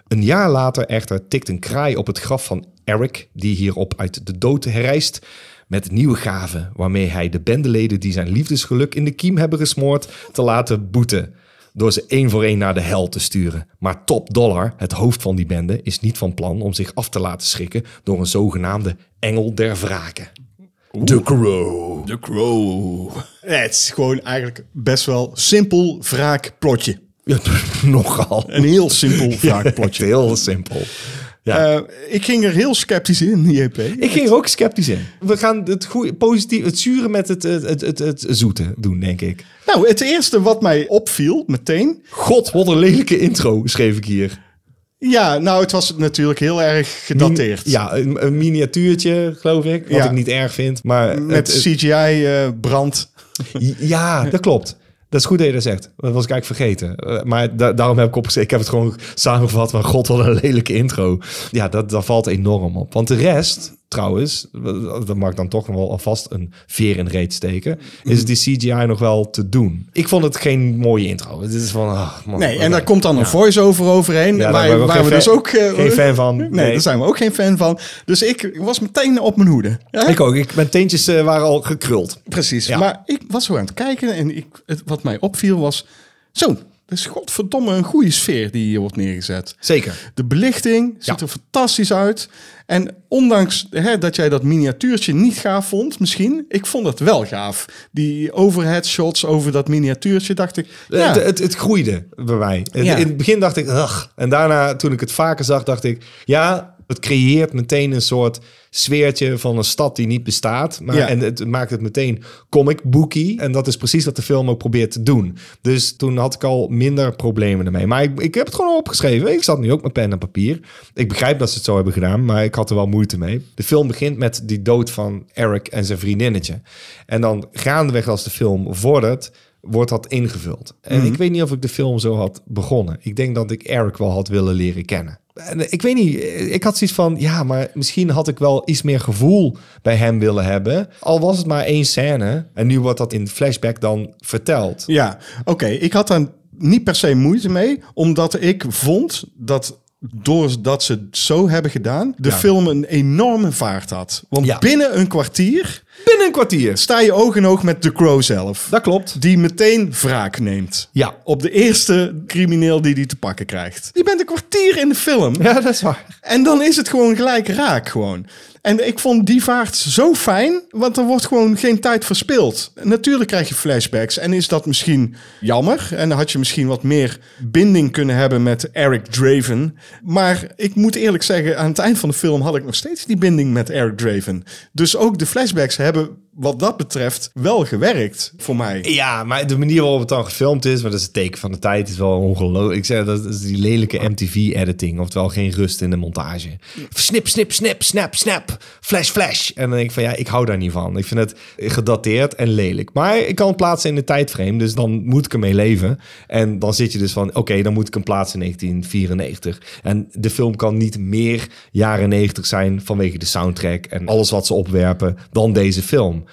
Speaker 1: Een jaar later echter tikt een kraai op het graf van Eric, die hierop uit de dood herrijst, met nieuwe gaven waarmee hij de bendeleden die zijn liefdesgeluk in de kiem hebben gesmoord, te laten boeten. Door ze één voor één naar de hel te sturen. Maar Top Dollar, het hoofd van die bende, is niet van plan om zich af te laten schrikken door een zogenaamde engel der wraken. De Crow.
Speaker 2: The Crow. Het is gewoon eigenlijk best wel simpel wraakplotje.
Speaker 1: Ja, nogal.
Speaker 2: Een heel simpel
Speaker 1: Echt
Speaker 2: wraakplotje.
Speaker 1: heel simpel. Ja.
Speaker 2: Eh, ik ging er heel sceptisch in, E JP.
Speaker 1: Ik ging er ook sceptisch in. We gaan het, goeie, positief, het zure met het, het, het, het, het zoete doen, denk ik.
Speaker 2: Nou, het eerste wat mij opviel meteen
Speaker 1: God, wat een lelijke intro, schreef ik hier.
Speaker 2: Ja, nou, het was natuurlijk heel erg gedateerd.
Speaker 1: Ja, een, een miniatuurtje, geloof ik. Wat
Speaker 2: Ja.
Speaker 1: ik niet erg vind. Maar
Speaker 2: Met
Speaker 1: het-
Speaker 2: CGI-brand.
Speaker 1: Ja, dat klopt. Dat is goed dat je dat zegt. Dat was ik eigenlijk vergeten. Eh, maar da- daarom heb ik opgeschreven. Ik heb het gewoon samengevat. Maar god, wat een lelijke intro. Ja, dat, dat valt enorm op. Want de rest, trouwens, dat mag ik dan toch nog wel alvast een veer in de reet steken. Is
Speaker 2: Mhm.
Speaker 1: die CGI nog wel te doen? Ik vond het geen mooie intro. Het is van, ah, man,
Speaker 2: nee, en
Speaker 1: oké.
Speaker 2: daar komt dan een voice-over overheen.
Speaker 1: Ja, daar ben
Speaker 2: waar
Speaker 1: ik ook
Speaker 2: waar
Speaker 1: geen
Speaker 2: we
Speaker 1: fan-
Speaker 2: dus ook... eh,
Speaker 1: geen fan van.
Speaker 2: Nee,
Speaker 1: Nee.
Speaker 2: daar zijn we ook geen fan van. Dus ik was meteen op mijn hoede. Ja,
Speaker 1: Ik ook. Ik, mijn teentjes eh, waren al gekruld.
Speaker 2: precies.
Speaker 1: Ja.
Speaker 2: Maar ik was zo aan het kijken en ik, het, wat mij opviel was... Zo, dat is godverdomme een goede sfeer die hier wordt neergezet.
Speaker 1: Zeker.
Speaker 2: De belichting
Speaker 1: Ja.
Speaker 2: ziet er fantastisch uit. En ondanks hè, dat jij dat miniatuurtje niet gaaf vond, misschien, ik vond het wel gaaf. Die overhead shots over dat miniatuurtje, dacht ik. Ja,
Speaker 1: Het, het, het groeide bij mij. In-
Speaker 2: Ja.
Speaker 1: In het begin dacht ik, ach. En daarna, toen ik het vaker zag, dacht ik, ja, het creëert meteen een soort sfeertje van een stad die niet bestaat. Maar,
Speaker 2: Ja.
Speaker 1: En het maakt het meteen comic bookie. En dat is precies wat de film ook probeert te doen. Dus toen had ik al minder problemen ermee. Maar ik, ik heb het gewoon opgeschreven. Ik zat nu ook met pen en papier. Ik begrijp dat ze het zo hebben gedaan, maar ik had er wel moeite mee. De film begint met die dood van Eric en zijn vriendinnetje. En dan gaandeweg als de film vordert, wordt dat ingevuld. En ik weet niet of ik de film zo had begonnen. Ik denk dat ik Eric wel had willen leren kennen. En eh, ik weet niet, ik had zoiets van, ja, maar misschien had ik wel iets meer gevoel bij hem willen hebben. Al was het maar één scène. En nu wordt dat in flashback dan verteld.
Speaker 2: ja. oké. Ik had daar niet per se moeite mee, omdat ik vond dat doordat ze het zo hebben gedaan, de
Speaker 1: Ja.
Speaker 2: film een enorme vaart had. Want
Speaker 1: Ja.
Speaker 2: binnen een kwartier
Speaker 1: Binnen een kwartier.
Speaker 2: sta je oog in oog met de Crow zelf.
Speaker 1: Dat klopt.
Speaker 2: Die meteen wraak neemt.
Speaker 1: Ja.
Speaker 2: Op de eerste crimineel die die te pakken krijgt. Je bent een kwartier in de film.
Speaker 1: Ja, dat is waar.
Speaker 2: En dan is het gewoon gelijk raak gewoon. En ik vond die vaart zo fijn, want er wordt gewoon geen tijd verspild. Natuurlijk krijg je flashbacks en is dat misschien jammer. En dan had je misschien wat meer binding kunnen hebben met Eric Draven. Maar ik moet eerlijk zeggen, aan het eind van de film had ik nog steeds die binding met Eric Draven. Dus ook de flashbacks hebben wat dat betreft wel gewerkt voor mij.
Speaker 1: Ja, maar de manier waarop het dan gefilmd is, maar dat is het teken van de tijd, is wel ongelooflijk. Ik zeg, dat is die lelijke MTV-editing, oftewel geen rust in de montage. Snip, snip, snip, snap, snap, flash, flash. En dan denk ik van, ja, ik hou daar niet van. Ik vind het gedateerd en lelijk. Maar ik kan het plaatsen in de tijdframe, dus dan moet ik ermee leven. En dan zit je dus van, oké, dan moet ik hem plaatsen in 1994. En de film kan niet meer jaren 90 zijn vanwege de soundtrack en alles wat ze opwerpen dan deze film.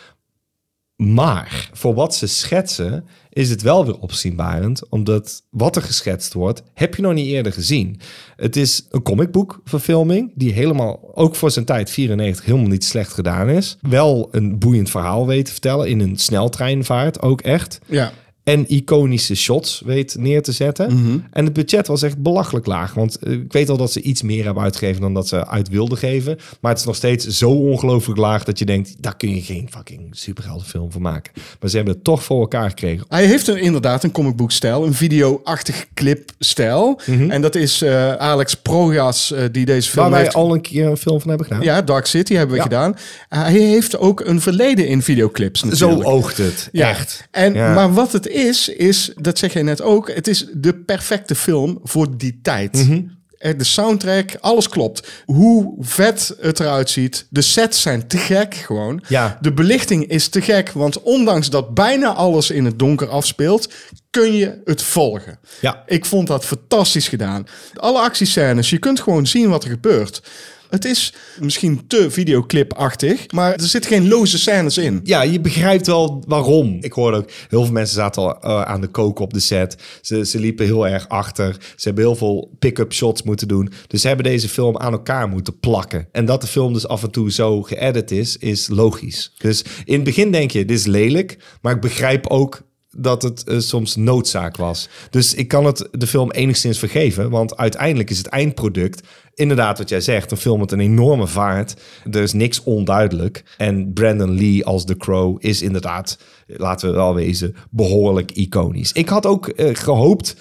Speaker 1: Maar voor wat ze schetsen is het wel weer opzienbarend, omdat wat er geschetst wordt, heb je nog niet eerder gezien. Het is een comicboekverfilming die helemaal, ook voor zijn tijd 94, helemaal niet slecht gedaan is. Wel een boeiend verhaal weet te vertellen in een sneltreinvaart, ook echt.
Speaker 2: Ja.
Speaker 1: En iconische shots weet neer te zetten. En het budget was echt belachelijk laag. Want eh, ik weet al dat ze iets meer hebben uitgegeven dan dat ze uit wilden geven. Maar het is nog steeds zo ongelooflijk laag dat je denkt... daar kun je geen fucking superheldenfilm van maken. Maar ze hebben het toch voor elkaar gekregen.
Speaker 2: Hij heeft een, inderdaad een comicboekstijl, een video-achtig clipstijl. En dat is eh, Alex Progas eh, die deze film
Speaker 1: Mhm. Waar wij
Speaker 2: heeft...
Speaker 1: al een keer een film van hebben gedaan.
Speaker 2: Ja, Dark City hebben we
Speaker 1: Ja.
Speaker 2: gedaan. Hij heeft ook een verleden in videoclips
Speaker 1: Zo
Speaker 2: natuurlijk.
Speaker 1: oogt het.
Speaker 2: Ja.
Speaker 1: Echt.
Speaker 2: En,
Speaker 1: Ja.
Speaker 2: Maar wat het is, is, dat zeg jij net ook, het is de perfecte film voor die tijd.
Speaker 1: Mhm.
Speaker 2: Eh, De soundtrack, alles klopt. Hoe vet het eruit ziet. De sets zijn te gek gewoon.
Speaker 1: Ja.
Speaker 2: De belichting is te gek. Want ondanks dat bijna alles in het donker afspeelt, kun je het volgen.
Speaker 1: Ja.
Speaker 2: Ik vond dat fantastisch gedaan. Alle actiescènes, je kunt gewoon zien wat er gebeurt. Het is misschien te videoclipachtig, maar er zitten geen loze scènes in.
Speaker 1: ja, je begrijpt wel waarom. Ik hoorde ook, heel veel mensen zaten al eh, aan de kook op de set. Ze, ze liepen heel erg achter. Ze hebben heel veel pick-up shots moeten doen. Dus ze hebben deze film aan elkaar moeten plakken. En dat de film dus af en toe zo geëdit is, is logisch. Dus in het begin denk je, dit is lelijk. Maar ik begrijp ook dat het eh, soms noodzaak was. Dus ik kan het de film enigszins vergeven, want uiteindelijk is het eindproduct inderdaad wat jij zegt, een film met een enorme vaart. Er is niks onduidelijk. En Brandon Lee als The Crow is inderdaad, laten we wel wezen, behoorlijk iconisch. Ik had ook eh, gehoopt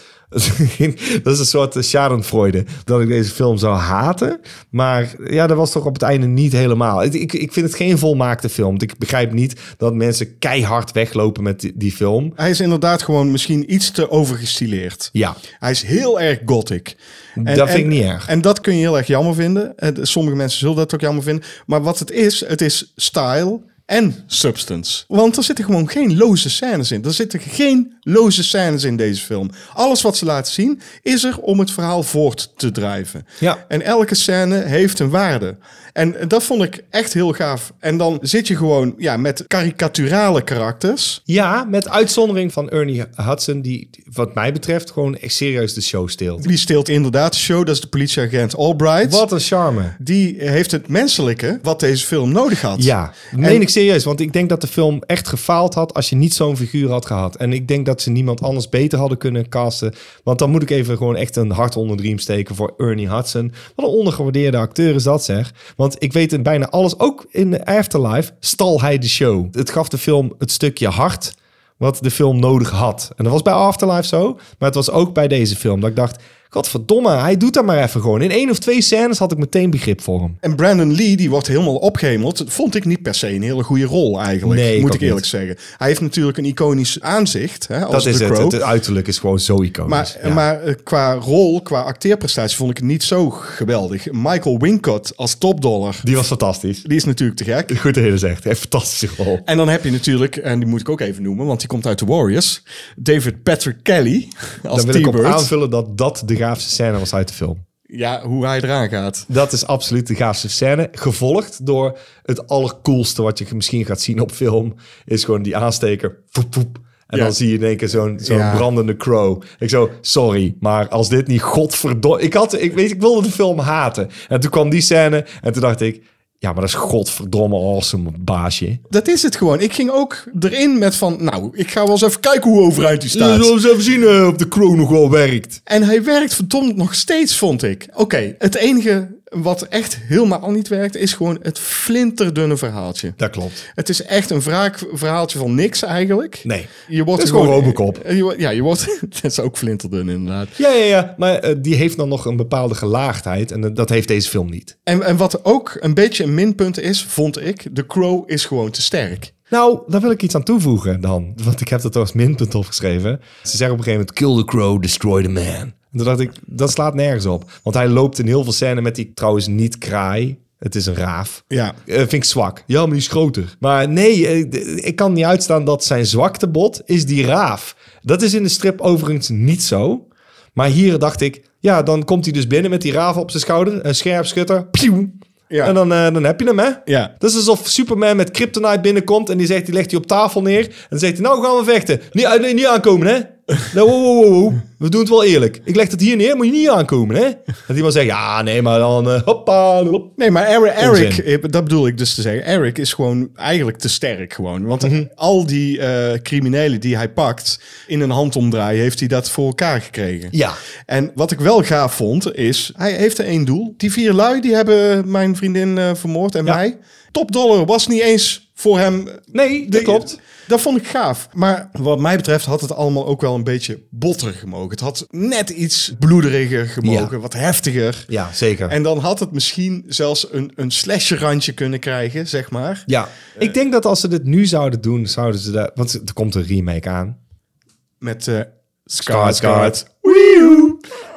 Speaker 1: dat is een soort eh, schadenfreude. Dat ik deze film zou haten. Maar ja, dat was toch op het einde niet helemaal. Ik- Ik, ik vind het geen volmaakte film. Want Ik begrijp niet dat mensen keihard weglopen met die, die film.
Speaker 2: Hij is inderdaad gewoon misschien iets te overgestileerd.
Speaker 1: Ja,
Speaker 2: Hij is heel erg gothic. En-
Speaker 1: Dat vind ik
Speaker 2: en-
Speaker 1: niet erg.
Speaker 2: En dat kun je heel erg jammer vinden. En sommige mensen zullen dat ook jammer vinden. Maar wat het is, het is style en substance. Want er zitten gewoon geen loze scènes in. Er zitten geen loze scènes in deze film. Alles wat ze laten zien, is er om het verhaal voort te drijven.
Speaker 1: Ja.
Speaker 2: En elke scène heeft een waarde. En dat vond ik echt heel gaaf. En dan zit je gewoon ja, met karikaturale karakters.
Speaker 1: ja met uitzondering van Ernie Hudson, die wat mij betreft gewoon echt serieus de show steelt.
Speaker 2: Die steelt inderdaad de show. Dat is de politieagent Albright.
Speaker 1: Wat een charme.
Speaker 2: Die heeft het menselijke wat deze film nodig had.
Speaker 1: Ja, dat meen ik serieus. Want ik denk dat de film echt gefaald had als je niet zo'n figuur had gehad. En ik denk dat ze niemand anders beter hadden kunnen casten. Want dan moet ik even gewoon echt een hart onder de riem steken voor Ernie Hudson. Wat een ondergewaardeerde acteur is dat zeg. Want ik weet in bijna alles, ook in de Afterlife, stal hij de show. Het gaf de film het stukje hart wat de film nodig had. En dat was bij Afterlife zo, maar het was ook bij deze film. Dat ik dacht, godverdomme, hij doet dat maar even gewoon. In één of twee scènes had ik meteen begrip voor hem.
Speaker 2: En Brandon Lee, die wordt helemaal opgehemeld. Dat vond ik niet per se een hele goede rol eigenlijk.
Speaker 1: Nee, ik
Speaker 2: moet
Speaker 1: ook
Speaker 2: ik eerlijk
Speaker 1: niet.
Speaker 2: zeggen. Hij heeft natuurlijk een iconisch aanzicht. Hè, als
Speaker 1: Dat is
Speaker 2: de
Speaker 1: het.
Speaker 2: Crow.
Speaker 1: het. Het uiterlijk is gewoon zo iconisch.
Speaker 2: maar,
Speaker 1: Ja.
Speaker 2: maar eh, qua rol, qua acteerprestatie vond ik het niet zo geweldig. Michael Wincott als topdollar,
Speaker 1: Die was fantastisch.
Speaker 2: die is natuurlijk te gek.
Speaker 1: Goed hele zegt. Een fantastische rol.
Speaker 2: En dan heb je natuurlijk, en die moet ik ook even noemen, want die komt uit de Warriors. David Patrick Kelly als
Speaker 1: Dan wil ik op
Speaker 2: T-Bird.
Speaker 1: aanvullen dat dat de gaafste scène was uit de film.
Speaker 2: Ja, hoe hij eraan gaat.
Speaker 1: Dat is absoluut de gaafste scène. Gevolgd door het allercoolste wat je misschien gaat zien op film. Is gewoon die aansteker. Poep, poep. En
Speaker 2: Ja.
Speaker 1: dan zie je in één keer zo'n zo'n
Speaker 2: Ja.
Speaker 1: brandende crow. Ik zo, sorry, maar als dit niet godverdomme... Ik, had, ik, weet, ik wilde de film haten. En toen kwam die scène en toen dacht ik... Ja, maar dat is godverdomme awesome, baasje.
Speaker 2: Dat is het gewoon. Ik ging ook erin met van, nou, ik ga wel eens even kijken hoe overeind hij
Speaker 1: Laten we
Speaker 2: staat.
Speaker 1: eens even zien eh, of de crow nog wel werkt.
Speaker 2: En hij werkt verdomd nog steeds, vond ik. Oké, het enige wat echt helemaal niet werkt, is gewoon het flinterdunne verhaaltje.
Speaker 1: Dat klopt.
Speaker 2: Het is echt een wraakverhaaltje van niks eigenlijk.
Speaker 1: Nee.
Speaker 2: Je wordt
Speaker 1: Het is
Speaker 2: er
Speaker 1: gewoon Robocop.
Speaker 2: eh, je wordt- ja, je wordt... Het is ook flinterdun inderdaad.
Speaker 1: Ja, ja, ja. Maar eh, die heeft dan nog een bepaalde gelaagdheid. En eh, dat heeft deze film niet.
Speaker 2: En, en wat ook een beetje een minpunt is, vond ik, de Crow is gewoon te sterk.
Speaker 1: Nou, daar wil ik iets aan toevoegen dan. Want ik heb dat als minpunt opgeschreven. Ze zeggen op een gegeven moment... Kill the crow, destroy the man. En toen dacht ik, dat slaat nergens op. Want hij loopt in heel veel scènes met die trouwens niet kraai. Het is een raaf.
Speaker 2: Ja.
Speaker 1: Eh, vind ik zwak. Ja, maar die is groter. Maar nee, eh, d- ik kan niet uitstaan dat zijn zwaktebod is die raaf. Dat is in de strip overigens niet zo. Maar hier dacht ik, ja, dan komt hij dus binnen met die raaf op zijn schouder. Een scherpschutter. Pieuw.
Speaker 2: Ja.
Speaker 1: En dan, eh, dan heb je hem, hè?
Speaker 2: Ja.
Speaker 1: Dat is alsof Superman met Kryptonite binnenkomt en die zegt, die legt hij op tafel neer. En dan zegt hij, nou gaan we vechten. Niet, eh, nee, niet aankomen, hè? Nou, wow, wow, wow, wow. we doen het wel eerlijk. Ik leg het hier neer, moet je niet aankomen, hè? Dat iemand zegt, ja, nee, maar dan eh, hoppa, hop.
Speaker 2: Nee, maar Eric, Eric,
Speaker 1: Onzin.
Speaker 2: eh, dat bedoel ik dus te zeggen. Eric is gewoon eigenlijk te sterk gewoon. Want
Speaker 1: Mhm.
Speaker 2: al die eh, criminelen die hij pakt in een handomdraai, heeft hij dat voor elkaar gekregen.
Speaker 1: Ja.
Speaker 2: En wat ik wel gaaf vond, is hij heeft er één doel. Die vier lui, die hebben mijn vriendin eh, vermoord en
Speaker 1: Ja.
Speaker 2: mij. Top dollar was niet eens voor hem.
Speaker 1: Nee, dat
Speaker 2: De-
Speaker 1: klopt.
Speaker 2: Dat vond ik gaaf. Maar wat mij betreft had het allemaal ook wel een beetje botter gemogen. Het had net iets bloederiger gemogen,
Speaker 1: Ja.
Speaker 2: wat heftiger.
Speaker 1: Ja, zeker.
Speaker 2: En dan had het misschien zelfs een, een slasherrandje kunnen krijgen, zeg maar.
Speaker 1: ja. ik denk dat als ze dit nu zouden doen, zouden ze dat... Want er komt een remake aan.
Speaker 2: Met eh
Speaker 1: Skarsgård.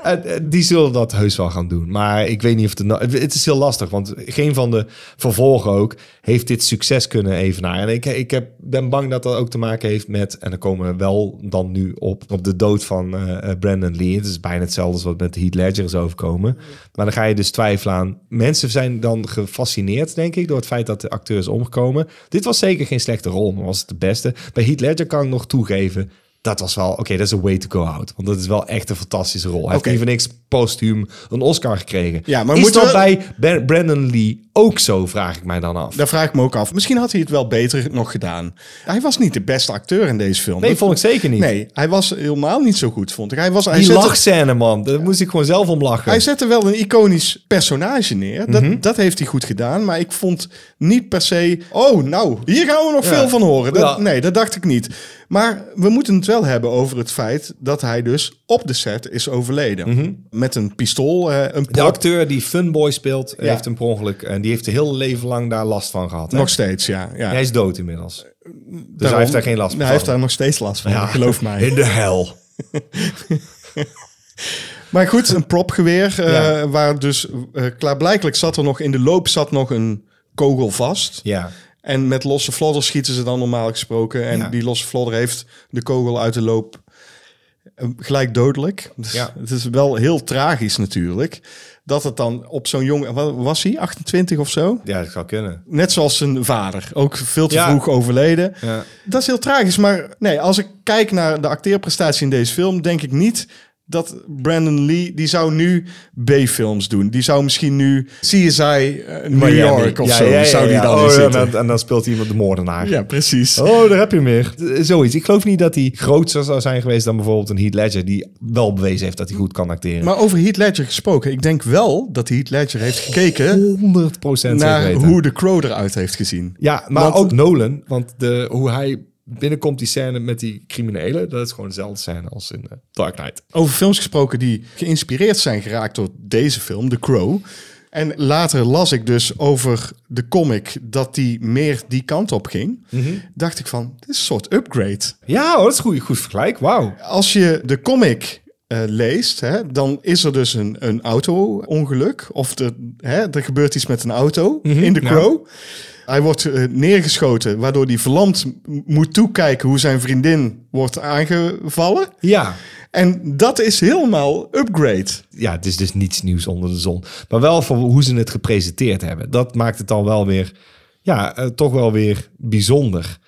Speaker 1: Eh, eh, die zullen dat heus wel gaan doen. Maar ik weet niet of het... nou- Het is heel lastig, want geen van de vervolgen ook... heeft dit succes kunnen evenaren. En ik, ik heb, ben bang dat dat ook te maken heeft met... en dan komen we wel dan nu op... op de dood van eh, eh, Brandon Lee. Het is bijna hetzelfde als wat met Heath Ledger is overkomen. Maar dan ga je dus twijfelen aan... Mensen zijn dan gefascineerd, denk ik... door het feit dat de acteur is omgekomen. Dit was zeker geen slechte rol, maar was het de beste. Bij Heath Ledger kan ik nog toegeven... Dat was wel, oké, dat is een way to go out. Want dat is wel echt een fantastische rol. Hij heeft
Speaker 2: Oké.
Speaker 1: niet voor niks postuum een Oscar gekregen.
Speaker 2: Ja, maar
Speaker 1: is
Speaker 2: moeten
Speaker 1: dat
Speaker 2: we-
Speaker 1: bij Ba- Brandon Lee ook zo, vraag ik mij dan af.
Speaker 2: Daar vraag ik me ook af. Misschien had hij het wel beter nog gedaan. Hij was niet de beste acteur in deze film.
Speaker 1: Nee,
Speaker 2: Dat-
Speaker 1: vond ik zeker niet.
Speaker 2: Nee, hij was helemaal niet zo goed, vond ik. Hij was, hij
Speaker 1: Die
Speaker 2: zette-
Speaker 1: lachscène, man. Daar moest ik gewoon zelf om lachen.
Speaker 2: Hij zette wel een iconisch personage neer. Dat,
Speaker 1: Mhm.
Speaker 2: dat heeft hij goed gedaan. Maar ik vond niet per se. Oh, nou, hier gaan we nog
Speaker 1: Ja.
Speaker 2: veel van horen. Dat,
Speaker 1: Ja.
Speaker 2: Nee, dat dacht ik niet. Maar we moeten het wel hebben over het feit dat hij dus op de set is overleden.
Speaker 1: Mhm.
Speaker 2: Met een pistool, eh, een
Speaker 1: De
Speaker 2: prop.
Speaker 1: acteur die Funboy speelt,
Speaker 2: Ja.
Speaker 1: heeft een per ongeluk... en die heeft een heel leven lang daar last van gehad. hè?
Speaker 2: Nog steeds, ja. ja.
Speaker 1: Hij is dood inmiddels. Dus
Speaker 2: Daarom-
Speaker 1: hij heeft daar geen last van.
Speaker 2: Hij heeft daar nog steeds last van,
Speaker 1: Ja.
Speaker 2: geloof mij.
Speaker 1: In de hel.
Speaker 2: Maar goed, een propgeweer. eh,
Speaker 1: Ja.
Speaker 2: Waar dus eh, klaarblijkelijk zat er nog in de loop zat nog een kogel vast.
Speaker 1: Ja.
Speaker 2: En met losse vlodder schieten ze dan normaal gesproken. En
Speaker 1: Ja.
Speaker 2: die losse vlodder heeft de kogel uit de loop eh, gelijk dodelijk. Dus
Speaker 1: Ja.
Speaker 2: Het is wel heel tragisch natuurlijk. Dat het dan op zo'n jong... wa- Was hij 28 of zo?
Speaker 1: ja, dat zou kunnen.
Speaker 2: Net zoals zijn vader. Ook veel te
Speaker 1: Ja.
Speaker 2: vroeg overleden.
Speaker 1: Ja.
Speaker 2: Dat is heel tragisch. Maar nee, als ik kijk naar de acteerprestatie in deze film... denk ik niet dat Brandon Lee... die zou nu B-films doen. Die zou misschien nu CSI eh, New
Speaker 1: Miami.
Speaker 2: York of
Speaker 1: Ja,
Speaker 2: zo...
Speaker 1: ja, ja,
Speaker 2: zou die
Speaker 1: ja.
Speaker 2: dan
Speaker 1: Oh,
Speaker 2: in
Speaker 1: en,
Speaker 2: zitten.
Speaker 1: dan, en dan speelt iemand de moordenaar.
Speaker 2: Ja, precies.
Speaker 1: Oh, daar heb je meer. Zoiets. Ik geloof niet dat hij groter zou zijn geweest dan bijvoorbeeld een Heath Ledger... die wel bewezen heeft dat hij goed kan acteren.
Speaker 2: Maar over Heath Ledger gesproken. Ik denk wel dat Heath Ledger heeft gekeken
Speaker 1: 100 procent
Speaker 2: naar hoe de Crow eruit heeft gezien.
Speaker 1: Ja, maar
Speaker 2: Want-
Speaker 1: ook Nolan. Want de, hoe hij binnenkomt, die scène met die criminelen... dat is gewoon dezelfde scène als in eh, Dark Knight.
Speaker 2: Over films gesproken die geïnspireerd zijn geraakt door deze film, The Crow. En later las ik dus over de comic dat die meer die kant op ging. Dacht ik van, dit is een soort upgrade.
Speaker 1: Ja, hoor, dat is goed, goed vergelijk. Wauw.
Speaker 2: Als je de comic eh, leest, hè, dan is er dus een, een auto-ongeluk. Of er, hè, er gebeurt iets met een auto in de
Speaker 1: Mhm, ja.
Speaker 2: Crow. Hij wordt eh, neergeschoten, waardoor hij verlamd m- moet toekijken hoe zijn vriendin wordt aangevallen.
Speaker 1: Ja.
Speaker 2: En dat is helemaal upgrade.
Speaker 1: Ja, het is dus niets nieuws onder de zon. Maar wel voor hoe ze het gepresenteerd hebben. Dat maakt het dan wel weer... Ja, eh, toch wel weer bijzonder.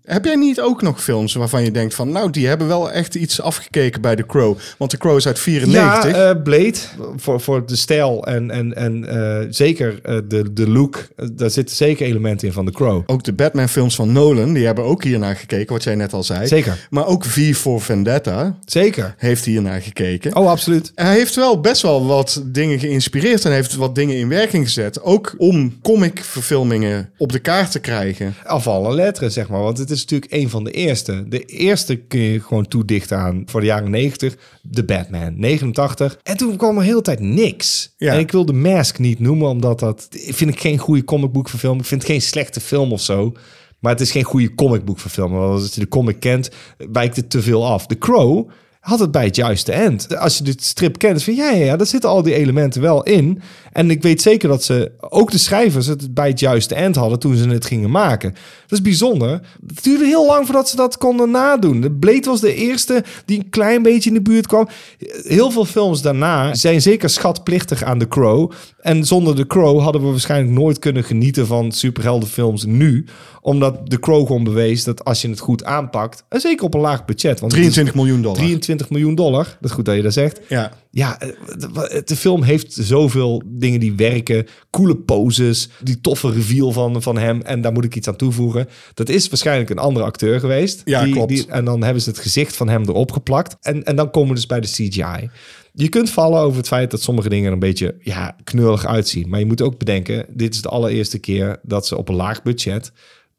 Speaker 2: Heb jij niet ook nog films waarvan je denkt van, nou, die hebben wel echt iets afgekeken bij de Crow? Want de Crow is uit 94.
Speaker 1: Ja, eh, Blade. Voor, voor de stijl en, en, en eh, zeker eh, de, de look. eh, daar zitten zeker elementen in van The Crow.
Speaker 2: ook de Batman-films van Nolan, die hebben ook hiernaar gekeken, wat jij net al zei.
Speaker 1: Zeker.
Speaker 2: Maar ook V for Vendetta
Speaker 1: Zeker.
Speaker 2: heeft hiernaar gekeken.
Speaker 1: Oh, absoluut.
Speaker 2: Hij heeft wel best wel wat dingen geïnspireerd en heeft wat dingen in werking gezet. Ook om comic-verfilmingen op de kaart te krijgen.
Speaker 1: afvallen letteren, zeg maar. Want het is natuurlijk een van de eerste. De eerste kun je gewoon toedichten aan voor de jaren 90, de Batman, 89. En toen kwam er heel de tijd niks.
Speaker 2: Ja.
Speaker 1: En ik wil de Mask niet noemen, omdat dat vind ik geen goede comicboekverfilming. Ik vind het geen slechte film of zo. Maar het is geen goede comicboekverfilming. Want als je de comic kent, wijkt het te veel af. The Crow had het bij het juiste end. Als je de strip kent, vind je, ja, ja, ja, daar zitten al die elementen wel in. En ik weet zeker dat ze, ook de schrijvers, het bij het juiste end hadden toen ze het gingen maken. Dat is bijzonder. Het duurde heel lang voordat ze dat konden nadoen. De Blade was de eerste die een klein beetje in de buurt kwam. Heel veel films daarna zijn zeker schatplichtig aan The Crow. En zonder The Crow hadden we waarschijnlijk nooit kunnen genieten van superheldenfilms nu. Omdat The Crow gewoon bewees dat als je het goed aanpakt, en zeker op een laag budget. Want het is-
Speaker 2: 23 miljoen dollar.
Speaker 1: 23 miljoen dollar. Dat is goed dat je dat zegt.
Speaker 2: Ja.
Speaker 1: Ja, eh, de, de film heeft zoveel dingen die werken. Coole poses, die toffe reveal van, van hem. En daar moet ik iets aan toevoegen. Dat is waarschijnlijk een andere acteur geweest.
Speaker 2: Ja,
Speaker 1: die,
Speaker 2: klopt.
Speaker 1: Die, en dan hebben ze het gezicht van hem erop geplakt. En, en dan komen we dus bij de CGI. Je kunt vallen over het feit dat sommige dingen er een beetje ja, knullig uitzien. Maar je moet ook bedenken, dit is de allereerste keer dat ze op een laag budget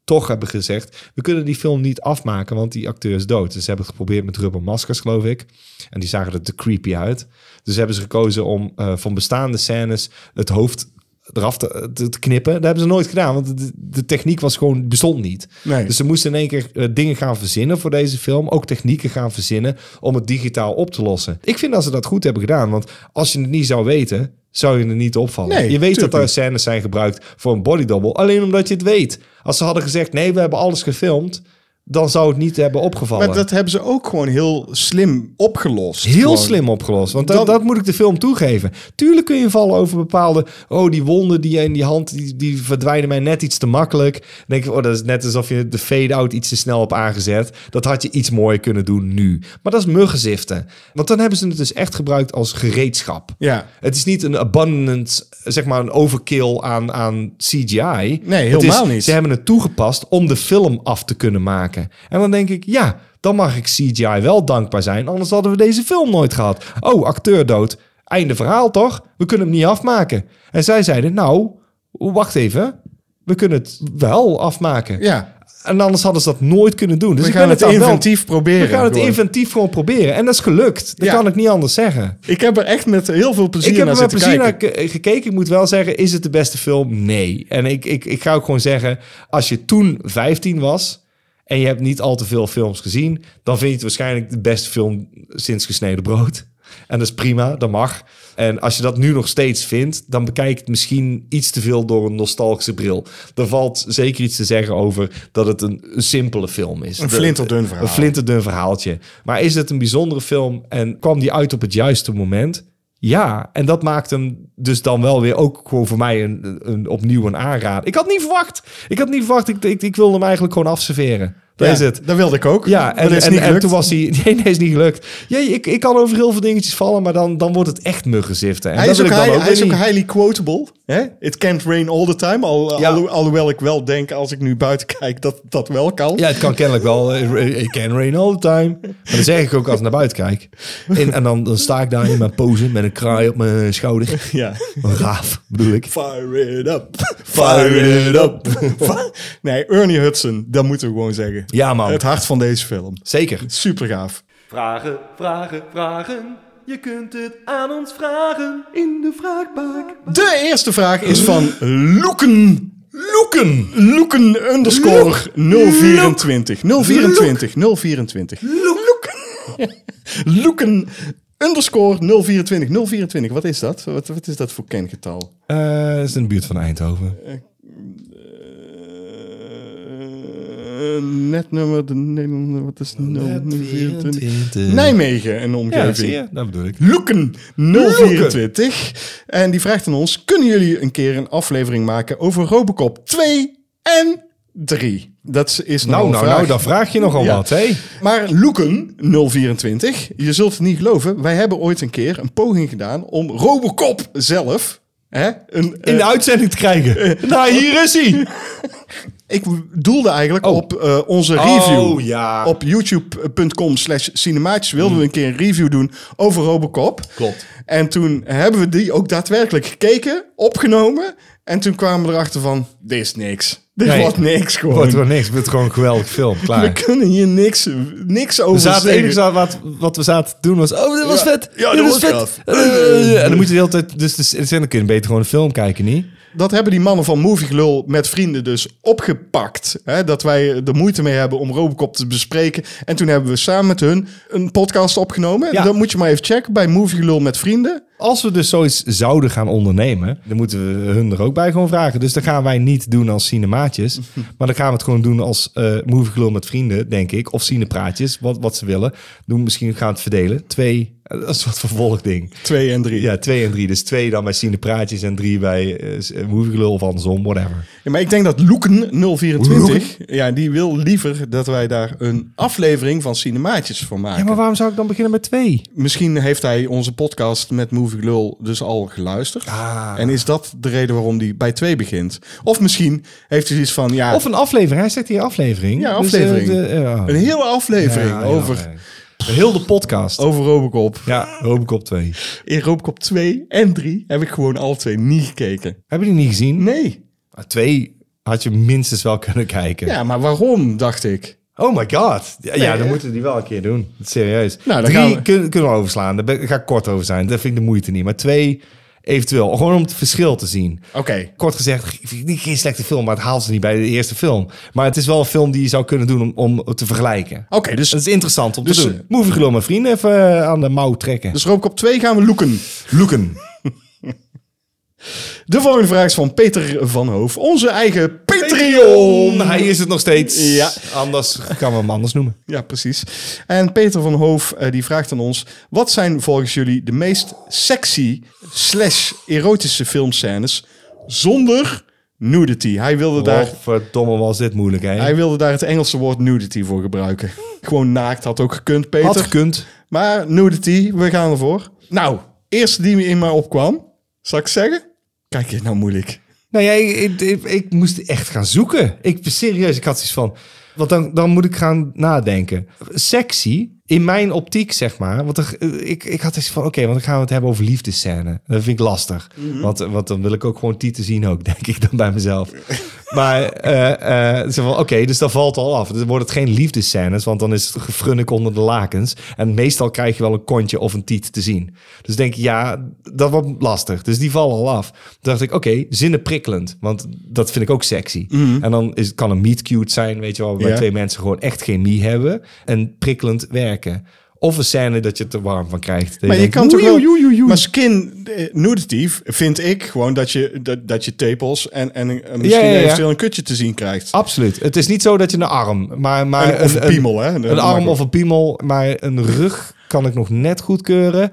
Speaker 1: toch hebben gezegd... we kunnen die film niet afmaken, want die acteur is dood. Dus ze hebben het geprobeerd met rubbermaskers, geloof ik. En die zagen er te creepy uit. Dus hebben ze gekozen om eh, van bestaande scènes het hoofd eraf te, te- te knippen. Dat hebben ze nooit gedaan, want de, de techniek was gewoon, bestond niet.
Speaker 2: Nee.
Speaker 1: Dus ze moesten in één keer eh, dingen gaan verzinnen voor deze film. Ook technieken gaan verzinnen om het digitaal op te lossen. Ik vind dat ze dat goed hebben gedaan. Want als je het niet zou weten, zou je er niet opvallen.
Speaker 2: Nee,
Speaker 1: je weet dat
Speaker 2: tuurlijk
Speaker 1: er
Speaker 2: niet.
Speaker 1: scènes zijn gebruikt voor een bodydouble. Alleen omdat je het weet. Als ze hadden gezegd, nee, we hebben alles gefilmd. Dan zou het niet hebben opgevallen.
Speaker 2: Maar dat hebben ze ook gewoon heel slim opgelost.
Speaker 1: Heel
Speaker 2: Gewoon.
Speaker 1: slim opgelost. Want dat,
Speaker 2: Dan-
Speaker 1: dat moet ik de film toegeven. Tuurlijk kun je vallen over bepaalde. Oh, die wonden die je in die hand. die, die verdwijnen mij net iets te makkelijk. Dan denk je, oh, dat is net alsof je de fade-out iets te snel op aangezet. Dat had je iets mooier kunnen doen nu. Maar dat is muggenziften. Want dan hebben ze het dus echt gebruikt als gereedschap.
Speaker 2: Ja.
Speaker 1: Het is niet een abundance, zeg maar een overkill aan, aan CGI.
Speaker 2: Nee,
Speaker 1: Het is-
Speaker 2: helemaal niet.
Speaker 1: Ze hebben het toegepast om de film af te kunnen maken. En dan denk ik, ja, dan mag ik CGI wel dankbaar zijn. Anders hadden we deze film nooit gehad. Oh, acteur dood. Einde verhaal toch? We kunnen hem niet afmaken. En zij zeiden, nou, wacht even. We kunnen het wel afmaken.
Speaker 2: Ja.
Speaker 1: En anders hadden ze dat nooit kunnen doen. Dus
Speaker 2: We
Speaker 1: ik
Speaker 2: gaan
Speaker 1: ben
Speaker 2: het
Speaker 1: daar wel-
Speaker 2: inventief proberen.
Speaker 1: We gaan het
Speaker 2: gewoon.
Speaker 1: inventief gewoon proberen. En dat is gelukt. Dat
Speaker 2: Ja.
Speaker 1: kan ik niet anders zeggen.
Speaker 2: Ik heb er echt met heel veel plezier
Speaker 1: Ik heb
Speaker 2: naar
Speaker 1: er met
Speaker 2: zitten
Speaker 1: plezier naar
Speaker 2: kijken.
Speaker 1: ge- gekeken. Ik moet wel zeggen, is het de beste film? Nee. En ik, ik, ik ga ook gewoon zeggen, als je toen 15 was en je hebt niet al te veel films gezien, dan vind je het waarschijnlijk de beste film sinds gesneden brood. En dat is prima, dat mag. En als je dat nu nog steeds vindt, dan bekijk het misschien iets te veel door een nostalgische bril. Er valt zeker iets te zeggen over dat het een, een simpele film is.
Speaker 2: Een
Speaker 1: De-
Speaker 2: flinterdun verhaal.
Speaker 1: Een flinterdun verhaaltje. Maar is het een bijzondere film en kwam die uit op het juiste moment? Ja, en dat maakt hem dus dan wel weer ook gewoon voor mij een, een, opnieuw een aanrader. Ik had niet verwacht. Ik had niet verwacht. Ik, ik, ik wilde hem eigenlijk gewoon afserveren. Dat
Speaker 2: Ja,
Speaker 1: is het.
Speaker 2: Dat wilde ik ook.
Speaker 1: Ja,
Speaker 2: Maar dat
Speaker 1: en,
Speaker 2: is
Speaker 1: en,
Speaker 2: niet
Speaker 1: en
Speaker 2: gelukt.
Speaker 1: toen was hij... Nee, nee, is niet gelukt. Ja, ik, ik kan over heel veel dingetjes vallen, maar dan, dan wordt het echt muggenziften. En
Speaker 2: Hij
Speaker 1: dat
Speaker 2: is, ook,
Speaker 1: wil ik dan
Speaker 2: high-
Speaker 1: ook
Speaker 2: hij is
Speaker 1: weer
Speaker 2: ook
Speaker 1: niet.
Speaker 2: highly quotable. Hè? It can't rain all the time. Al,
Speaker 1: Ja.
Speaker 2: alho- alhoewel ik wel denk, als ik nu buiten kijk, dat dat wel kan.
Speaker 1: Ja, het kan kennelijk wel. eh, Ik can rain all the time. Maar dat zeg ik ook als ik naar buiten kijk. En, en dan, dan sta ik daar in mijn pose met een kraai op mijn schouder.
Speaker 2: Ja.
Speaker 1: Een raaf, bedoel ik.
Speaker 2: Fire it up. Fire it up. nee, Ernie Hudson. Dat moeten we gewoon zeggen.
Speaker 1: Ja, man.
Speaker 2: Het hart van deze film.
Speaker 1: Zeker.
Speaker 2: Super gaaf.
Speaker 6: Vragen, vragen, vragen. Je kunt het aan ons vragen in de vraagbaak.
Speaker 2: De eerste vraag is van Loeken.
Speaker 1: Loeken.
Speaker 2: Loeken underscore 024. 024. 024. Loeken underscore 024. 024. Wat is dat? Wat, wat is dat voor kengetal?
Speaker 1: dat Eh, is in de buurt van Eindhoven.
Speaker 2: Eh, netnummer, de Nederlander, wat is 024? Nijmegen en omgeving.
Speaker 1: Dat bedoel ik.
Speaker 2: Loeken 024. En die vraagt aan ons: kunnen jullie een keer een aflevering maken over Robocop 2 en 3? Dat is
Speaker 1: Nou,
Speaker 2: een
Speaker 1: nou,
Speaker 2: vraag.
Speaker 1: nou, dan vraag je nogal
Speaker 2: Ja.
Speaker 1: wat, hè?
Speaker 2: Maar Loeken 024, je zult het niet geloven, wij hebben ooit een keer een poging gedaan om Robocop zelf. Hè, een,
Speaker 1: In de
Speaker 2: eh,
Speaker 1: uitzending te krijgen. nou, hier is hij.
Speaker 2: ik doelde eigenlijk
Speaker 1: Oh.
Speaker 2: op eh, onze review.
Speaker 1: Oh, ja.
Speaker 2: Op youtube.com slash cinematisch wilden we een keer een review doen over Robocop.
Speaker 1: Klopt.
Speaker 2: En toen hebben we die ook daadwerkelijk gekeken, opgenomen. En toen kwamen we erachter van, dit is niks. Dit
Speaker 1: Nee.
Speaker 2: wordt niks gewoon.
Speaker 1: Wordt wel niks. Het wordt gewoon een geweldig film.
Speaker 2: we
Speaker 1: Klaar.
Speaker 2: kunnen hier niks, niks over
Speaker 1: We zaten, het
Speaker 2: zeggen.
Speaker 1: enige wat, wat we zaten te doen was... Oh, dat was
Speaker 2: Ja.
Speaker 1: vet.
Speaker 2: Ja, dat was gaaf.
Speaker 1: Eh, en dan moet je de hele tijd... Dus, dus, dan kun je beter gewoon een film kijken, niet?
Speaker 2: dat hebben die mannen van Movie Glul met vrienden dus opgepakt. Hè, dat wij er moeite mee hebben om Robocop te bespreken. En toen hebben we samen met hun een podcast opgenomen.
Speaker 1: Ja.
Speaker 2: Dat moet je maar even checken bij Movie Glul met vrienden.
Speaker 1: Als we dus zoiets zouden gaan ondernemen, dan moeten we hun er ook bij gewoon vragen. Dus dat gaan wij niet doen als cinemaatjes. Maar dan gaan we het gewoon doen als eh Movie Club met vrienden, denk ik. Of cinepraatjes, wat, wat ze willen. Doen misschien gaan we het verdelen. Twee, eh, dat is wat vervolgding.
Speaker 2: Twee en drie.
Speaker 1: Ja, twee en drie. Dus twee dan bij cinepraatjes en drie bij eh Movie Club of andersom, whatever.
Speaker 2: Ja, maar ik denk dat Loeken024, ja, die wil liever dat wij daar een aflevering van Cinemaatjes van maken.
Speaker 1: Ja, maar waarom zou ik dan beginnen met twee?
Speaker 2: Misschien heeft hij onze podcast met Movie Lul dus al geluisterd.
Speaker 1: Ah.
Speaker 2: En is dat de reden waarom hij bij twee begint? Of misschien heeft hij iets van, ja,
Speaker 1: Of een aflevering. Hij zegt hier aflevering.
Speaker 2: Ja,
Speaker 1: Dus, eh,
Speaker 2: aflevering.
Speaker 1: de- ja.
Speaker 2: een hele aflevering
Speaker 1: Ja, ja,
Speaker 2: over,
Speaker 1: ja. Heel de podcast.
Speaker 2: over Robocop.
Speaker 1: Ja, Robocop 2.
Speaker 2: In Robocop 2 en 3 heb ik gewoon alle twee niet gekeken.
Speaker 1: Hebben jullie niet gezien?
Speaker 2: Nee.
Speaker 1: Maar Twee had je minstens wel kunnen kijken.
Speaker 2: Ja, maar waarom, dacht ik.
Speaker 1: Oh my god. Ja, ja, dan
Speaker 2: hè?
Speaker 1: moeten we die wel een keer doen. Serieus.
Speaker 2: Nou, dan
Speaker 1: Drie
Speaker 2: gaan we-
Speaker 1: kun- kunnen we overslaan. Daar ben- ga ik kort over zijn. Dat vind ik de moeite niet. Maar twee, eventueel. Gewoon om het verschil te zien.
Speaker 2: Oké.
Speaker 1: Kort gezegd, g- vind ik niet- geen slechte film, maar het haalt ze niet bij de eerste film. Maar het is wel een film die je zou kunnen doen om, om te vergelijken.
Speaker 2: Oké, dus,
Speaker 1: Dat is interessant om
Speaker 2: Dus,
Speaker 1: te
Speaker 2: eh,
Speaker 1: doen. Movie Glow, mijn vrienden, even eh, aan de mouw trekken.
Speaker 2: dus Robocop 2 gaan we loeken.
Speaker 1: Loeken.
Speaker 2: De volgende vraag is van Peter van Hoof. Onze eigen Patreon.
Speaker 1: Trion, hij is het nog steeds.
Speaker 2: Ja.
Speaker 1: Anders kan we hem anders noemen.
Speaker 2: Ja, precies. En Peter van Hoof eh, die vraagt aan ons: wat zijn volgens jullie de meest sexy slash erotische filmscènes zonder nudity? Hij wilde, daar,
Speaker 1: Godverdomme was dit moeilijk, hè?
Speaker 2: hij wilde daar het Engelse woord nudity voor gebruiken. Gewoon naakt had ook gekund, Peter.
Speaker 1: Had gekund.
Speaker 2: Maar nudity, we gaan ervoor. Nou, eerste die me in mij opkwam, zal ik zeggen? Kijk, dit is nou moeilijk.
Speaker 1: Nou ja, ik, ik, ik- ik moest echt gaan zoeken. Ik serieus, ik had zoiets van. Want dan, dan moet ik gaan nadenken. Sexy, in mijn optiek zeg maar. Want er- eh, ik, ik had iets van, oké, want dan gaan we het hebben over liefdesscène. Dat vind ik lastig. want, want dan wil ik ook gewoon tieten zien ook, denk ik dan bij mezelf. maar eh, eh, zo van, oké, dus dat valt al af. Dan wordt het geen liefdesscènes, want dan is het gefrunnik onder de lakens. En meestal krijg je wel een kontje of een tiet te zien. Dus denk ik, ja, dat wordt lastig. Dus die vallen al af. Toen dacht ik, oké, zinnen prikkelend. Want dat vind ik ook sexy. En dan is, kan een meet cute zijn, weet je wel. Waarbij
Speaker 2: Mhm. Ja.
Speaker 1: twee mensen gewoon echt chemie hebben. En prikkelend werken. Of een scène dat je er te warm van krijgt. Dat
Speaker 2: Maar je
Speaker 1: denkt,
Speaker 2: kan toch
Speaker 1: oei,
Speaker 2: wel...
Speaker 1: oei, oei, oei.
Speaker 2: Maar skin eh, nudity vind ik gewoon dat je, dat, dat je tepels en, en eh, misschien
Speaker 1: ja, ja.
Speaker 2: eventueel een kutje te zien krijgt.
Speaker 1: Absoluut. Het is niet zo dat je een arm, maar, maar
Speaker 2: Een- of een piemel, hè?
Speaker 1: Ah, Een,
Speaker 2: Dat mag
Speaker 1: arm
Speaker 2: ook.
Speaker 1: of een piemel, maar een rug kan ik nog net goedkeuren.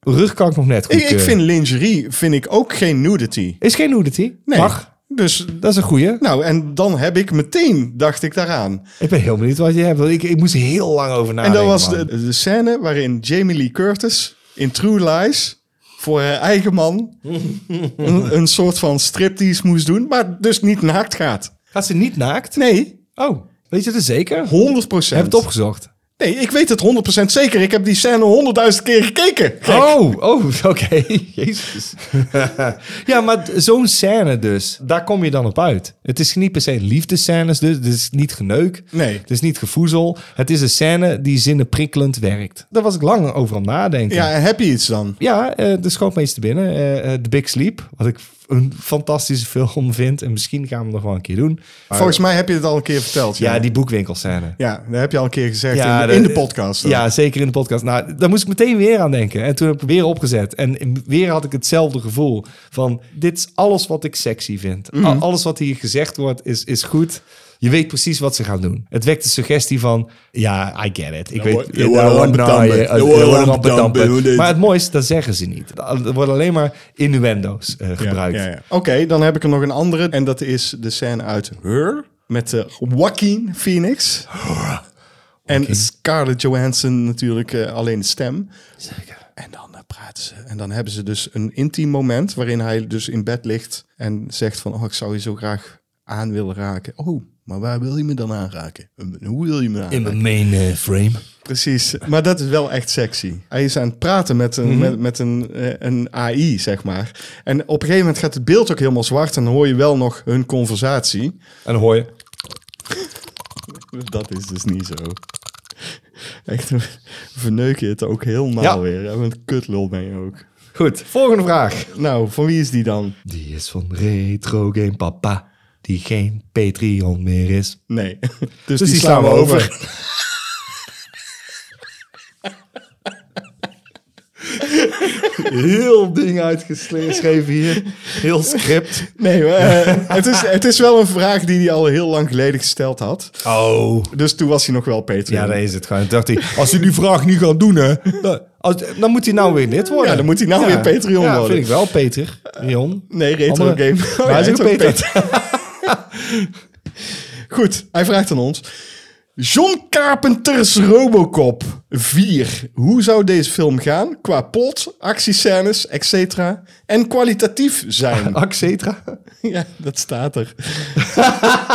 Speaker 1: Rug kan ik nog net
Speaker 2: Ik,
Speaker 1: goedkeuren.
Speaker 2: ik vind lingerie vind ik ook geen nudity.
Speaker 1: Is geen nudity.
Speaker 2: Nee.
Speaker 1: Mag.
Speaker 2: Dus,
Speaker 1: Dat is een goeie.
Speaker 2: nou, en dan heb ik meteen, dacht ik daaraan.
Speaker 1: Ik ben heel benieuwd wat je hebt. want Ik, ik moest heel lang over
Speaker 2: en
Speaker 1: nadenken.
Speaker 2: dat was de,
Speaker 1: man.
Speaker 2: de scène waarin Jamie Lee Curtis in True Lies voor haar eigen man een, een soort van striptease moest doen, maar dus niet naakt gaat.
Speaker 1: Gaat ze niet naakt?
Speaker 2: Nee,
Speaker 1: Oh, weet je het er zeker?
Speaker 2: 100%.
Speaker 1: Heb je het opgezocht?
Speaker 2: Nee, ik weet het 100% zeker. Ik heb die scène honderdduizend keer gekeken. Gek.
Speaker 1: Oh, oh oké. Jezus. ja, maar d- zo'n scène dus, daar kom je dan op uit. Het is niet per se liefdescènes dus. Het is niet geneuk.
Speaker 2: Nee.
Speaker 1: Het is niet gevoezel. Het is een scène die zinnenprikkelend werkt. Daar was ik lang over aan nadenken.
Speaker 2: Ja, en heb je iets dan?
Speaker 1: Ja, eh, de schoot me iets te binnen. Eh, eh, The Big Sleep, wat ik f- een fantastische film vind. En misschien gaan we hem nog wel een keer doen. Maar-
Speaker 2: Volgens mij heb je het al een keer verteld.
Speaker 1: ja, die boekwinkelscène.
Speaker 2: ja dat heb je al een keer gezegd
Speaker 1: Ja,
Speaker 2: in,
Speaker 1: dat-
Speaker 2: in de podcast. dan.
Speaker 1: Ja, zeker in de podcast. Nou, daar moest ik meteen weer aan denken. En toen heb ik het weer opgezet. En weer had ik hetzelfde gevoel. Van, dit is alles wat ik sexy vind.
Speaker 2: Mhm.
Speaker 1: Al- Alles wat hier gezegd wordt, is, is goed. Je weet precies wat ze gaan doen. Het wekt de suggestie van, ja, I get it. Ik weet,
Speaker 2: wordt- er wordt
Speaker 1: Ja,
Speaker 2: rampedampen.
Speaker 1: nou, je-
Speaker 2: Er
Speaker 1: er
Speaker 2: wordt
Speaker 1: wordt
Speaker 2: rampedampen.
Speaker 1: rampedampen. Maar het mooiste, dat zeggen ze niet. Er worden alleen maar innuendo's eh,
Speaker 2: Ja,
Speaker 1: gebruikt.
Speaker 2: ja, ja. Oké, dan heb ik er nog een andere. En dat is de scène uit Her. Met eh Joaquin Phoenix. En Scarlett Johansson natuurlijk eh, alleen de stem. Zeker. En dan eh, praten ze. En dan hebben ze dus een intiem moment waarin hij dus in bed ligt. En zegt van, oh, ik zou je zo graag aan willen raken. Oh, maar waar wil je me dan aanraken? En Hoe wil je me aanraken?
Speaker 1: In mijn main eh, frame.
Speaker 2: Precies, maar dat is wel echt sexy. Hij is aan het praten met een, met, met een, eh, een AI, zeg maar. En op een gegeven moment gaat het beeld ook helemaal zwart en dan hoor je wel nog hun conversatie.
Speaker 1: En dan hoor je...
Speaker 2: Dat is dus niet zo. Echt, verneuk je het ook helemaal
Speaker 1: Ja.
Speaker 2: weer. En met kutlul ben je ook.
Speaker 1: Goed, volgende vraag.
Speaker 2: Nou, van wie is die dan?
Speaker 1: Die is van Retro Game Papa, die geen Patreon meer is.
Speaker 2: Nee. Dus, die, slaan we over.
Speaker 1: Heel ding uitgeschreven hier. Heel script.
Speaker 2: Nee, maar, eh, het, is, het is wel een vraag die hij al heel lang geleden gesteld had.
Speaker 1: Oh.
Speaker 2: Dus toen was hij nog wel Patreon.
Speaker 1: Ja, dat is het gewoon. Toen dacht hij, als hij die vraag niet gaat doen, hè, dan, als- dan moet hij nou weer dit worden.
Speaker 2: Ja, dan moet hij nou weer Patreon
Speaker 1: ja,
Speaker 2: worden.
Speaker 1: vind ik wel, Peter. Rion.
Speaker 2: Nee, retro
Speaker 1: Andere-
Speaker 2: game.
Speaker 1: Maar hij is ook Peter.
Speaker 2: Goed, hij vraagt aan ons. John Carpenter's Robocop 4. Hoe zou deze film gaan qua plot, actiescènes, et cetera, en kwalitatief zijn?
Speaker 1: Accetra.
Speaker 2: ja, dat staat er.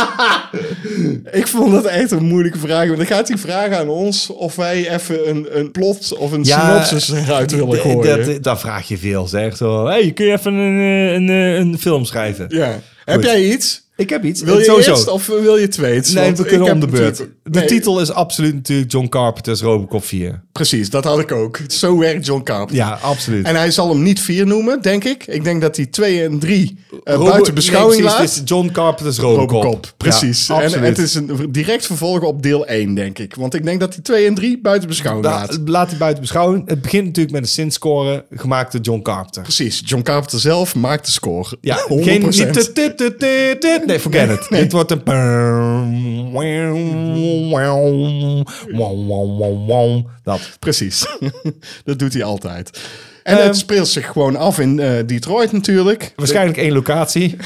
Speaker 2: Ik vond dat echt een moeilijke vraag. Want dan gaat hij vragen aan ons of wij even een, een plot of een
Speaker 1: Ja,
Speaker 2: synopsis eruit willen
Speaker 1: Dat,
Speaker 2: gooien.
Speaker 1: dat, dat vraag je veel, zeg. Zo, hey, kun je even een, eh, een, eh, een film schrijven?
Speaker 2: ja. Heb jij iets?
Speaker 1: Ik heb iets.
Speaker 2: Wil je
Speaker 1: Eh, Sowieso.
Speaker 2: eerst of wil je tweets?
Speaker 1: Nee,
Speaker 2: Want
Speaker 1: we
Speaker 2: ik
Speaker 1: kunnen
Speaker 2: heb
Speaker 1: om de beurt.
Speaker 2: natuurlijk-
Speaker 1: De
Speaker 2: Nee, Eh,
Speaker 1: titel is absoluut natuurlijk John Carpenter's Robocop 4.
Speaker 2: Precies, dat had ik ook. Zo werkt John Carpenter.
Speaker 1: Ja, absoluut.
Speaker 2: En hij zal hem niet 4 noemen, denk ik. Ik denk dat hij 2 en 3
Speaker 1: Robo-
Speaker 2: buiten beschouwing
Speaker 1: nee,
Speaker 2: laat.
Speaker 1: precies, het is John Carpenter's Robocop.
Speaker 2: Robocop, precies.
Speaker 1: Ja,
Speaker 2: en
Speaker 1: absoluut.
Speaker 2: het is een direct vervolg op deel 1, denk ik. Want ik denk dat hij 2 en 3 buiten beschouwing
Speaker 1: La-
Speaker 2: laat.
Speaker 1: laat het buiten beschouwing. Het begint natuurlijk met een zinscore gemaakt door John Carpenter.
Speaker 2: Precies, John Carpenter zelf maakt de score.
Speaker 1: Ja,
Speaker 2: 100%.
Speaker 1: geen niet dit, dit, dit, dit, dit. Nee, forget it. Dit wordt een... Dat.
Speaker 2: Precies, dat doet hij altijd. En
Speaker 1: Ehm.
Speaker 2: het speelt zich gewoon af in eh, Detroit natuurlijk.
Speaker 1: Waarschijnlijk één locatie.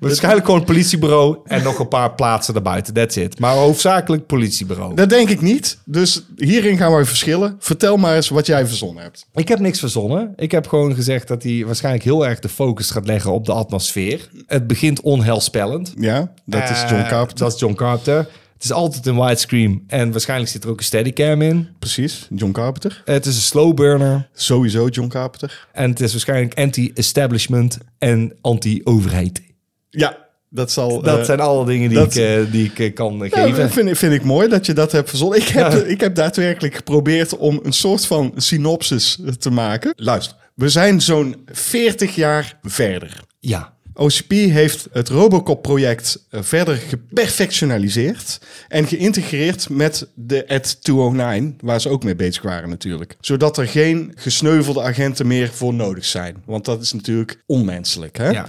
Speaker 1: Waarschijnlijk gewoon het politiebureau en nog een paar plaatsen daarbuiten. That's it. Maar hoofdzakelijk politiebureau.
Speaker 2: Dat denk ik niet. Dus hierin gaan we verschillen. Vertel maar eens wat jij verzonnen hebt.
Speaker 1: Ik heb niks verzonnen. Ik heb gewoon gezegd dat hij waarschijnlijk heel erg de focus gaat leggen op de atmosfeer. Het begint onheilspellend.
Speaker 2: Ja, dat is John
Speaker 1: Eh,
Speaker 2: Carpenter.
Speaker 1: Dat is John Carpenter. Het is altijd een widescreen en waarschijnlijk zit er ook een steadicam in.
Speaker 2: Precies, John Carpenter.
Speaker 1: Het is een slow burner
Speaker 2: Sowieso John Carpenter.
Speaker 1: en het is waarschijnlijk anti-establishment en anti-overheid.
Speaker 2: Ja, dat zal.
Speaker 1: Dat
Speaker 2: eh,
Speaker 1: zijn alle dingen die,
Speaker 2: dat-
Speaker 1: ik, eh, die ik eh, kan eh,
Speaker 2: ja,
Speaker 1: geven.
Speaker 2: vind, ik- vind ik mooi dat je dat hebt verzonnen. Ik heb, ik heb daadwerkelijk geprobeerd om een soort van synopsis eh, te maken. Luister, we zijn zo'n 40 jaar verder.
Speaker 1: Ja.
Speaker 2: OCP heeft het Robocop-project eh, verder geperfectionaliseerd en geïntegreerd met de Ad 209, waar ze ook mee bezig waren natuurlijk. Zodat er geen gesneuvelde agenten meer voor nodig zijn. Want dat is natuurlijk onmenselijk. Hè?
Speaker 1: Ja.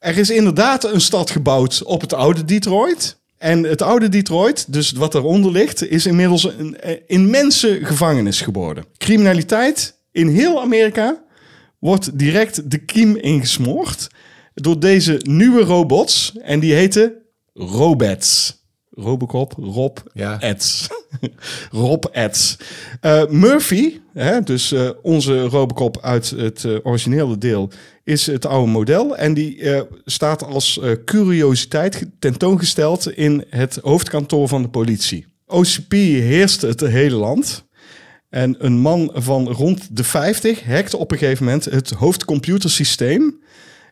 Speaker 2: Er is inderdaad een stad gebouwd op het oude Detroit. En het oude Detroit, dus wat eronder ligt, is inmiddels een eh, immense gevangenis geworden. Criminaliteit in heel Amerika wordt direct de kiem ingesmoord door deze nieuwe robots. En die heten Robats. Robocop, Rob,
Speaker 1: Ja.
Speaker 2: Ads. Rob Ads. Eh, Murphy, hè, dus eh, onze Robocop uit het eh, originele deel, is het oude model. En die eh, staat als eh, curiositeit ge- tentoongesteld in het hoofdkantoor van de politie. OCP heerst het hele land. En een man van rond de 50 hackt op een gegeven moment het hoofdcomputersysteem.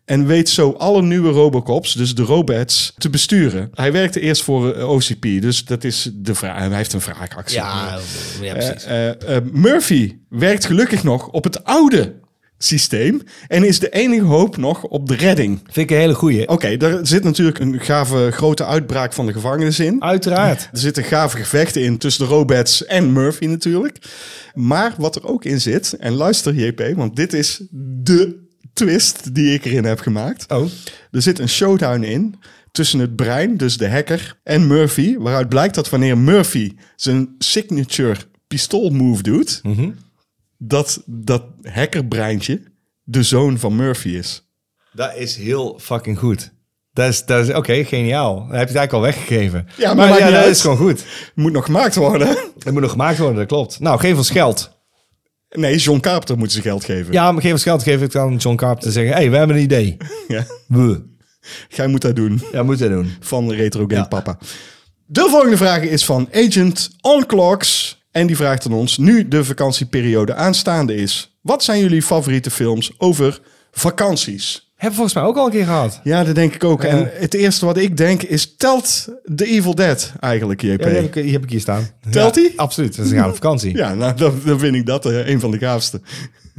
Speaker 2: En weet zo alle nieuwe Robocops, dus de Robats, te besturen. Hij werkte eerst voor eh, OCP, dus dat is de vraag. Hij heeft een wraakactie.
Speaker 1: Ja, ja, precies.
Speaker 2: Eh, eh, Murphy werkt gelukkig nog op het oude systeem. En is de enige hoop nog op de redding.
Speaker 1: Vind ik een hele goeie.
Speaker 2: Oké, daar zit natuurlijk een gave grote uitbraak van de gevangenis in.
Speaker 1: Uiteraard.
Speaker 2: Er zitten gave gevechten in tussen de Robats en Murphy natuurlijk. Maar wat er ook in zit, en luister JP, want dit is de twist die ik erin heb gemaakt.
Speaker 1: Oh.
Speaker 2: Er zit een showdown in tussen het brein, dus de hacker, en Murphy. Waaruit blijkt dat wanneer Murphy zijn signature pistool move doet, dat dat hackerbreintje de zoon van Murphy is.
Speaker 1: Dat is heel fucking goed. Dat is, dat is oké, geniaal. Dan heb je het eigenlijk al weggegeven.
Speaker 2: Ja, maar maakt
Speaker 1: ja,
Speaker 2: niet
Speaker 1: dat
Speaker 2: uit.
Speaker 1: is gewoon goed.
Speaker 2: Moet nog gemaakt worden.
Speaker 1: Het moet nog gemaakt worden, dat klopt. Nou, geef ons geld.
Speaker 2: Nee, John Carpenter moet zijn geld geven.
Speaker 1: Ja, maar geef ons geld, geef ik aan John Carpenter en zeggen... hey, we hebben een idee.
Speaker 2: Ja.
Speaker 1: We.
Speaker 2: Jij moet dat doen.
Speaker 1: Ja, moet dat doen.
Speaker 2: van Retro Game Papa. De volgende vraag is van Agent Onclocks. En die vraagt aan ons, nu de vakantieperiode aanstaande is... wat zijn jullie favoriete films over vakanties?
Speaker 1: Hebben we volgens mij ook al een keer gehad.
Speaker 2: Ja, dat denk ik ook.
Speaker 1: Ja.
Speaker 2: En het eerste wat ik denk is, telt The Evil Dead eigenlijk, JP?
Speaker 1: Ja, die, heb ik, die heb ik hier staan.
Speaker 2: Telt
Speaker 1: Ja,
Speaker 2: die?
Speaker 1: Absoluut, dat is een gave vakantie.
Speaker 2: Ja, nou, dan, dan vind ik dat eh, een van de gaafste.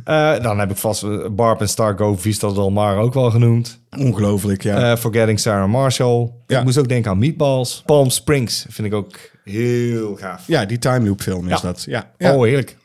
Speaker 1: Eh, dan heb ik vast eh, Barb en Stargo Vista Del Mar ook wel genoemd.
Speaker 2: Ongelooflijk, ja.
Speaker 1: Eh, Forgetting Sarah Marshall.
Speaker 2: Ja.
Speaker 1: Ik moest ook denken aan Meatballs. Palm Springs vind ik ook heel gaaf.
Speaker 2: ja, die time loop film is
Speaker 1: Ja.
Speaker 2: dat. Ja. Ja.
Speaker 1: Oh, heerlijk.
Speaker 2: ja.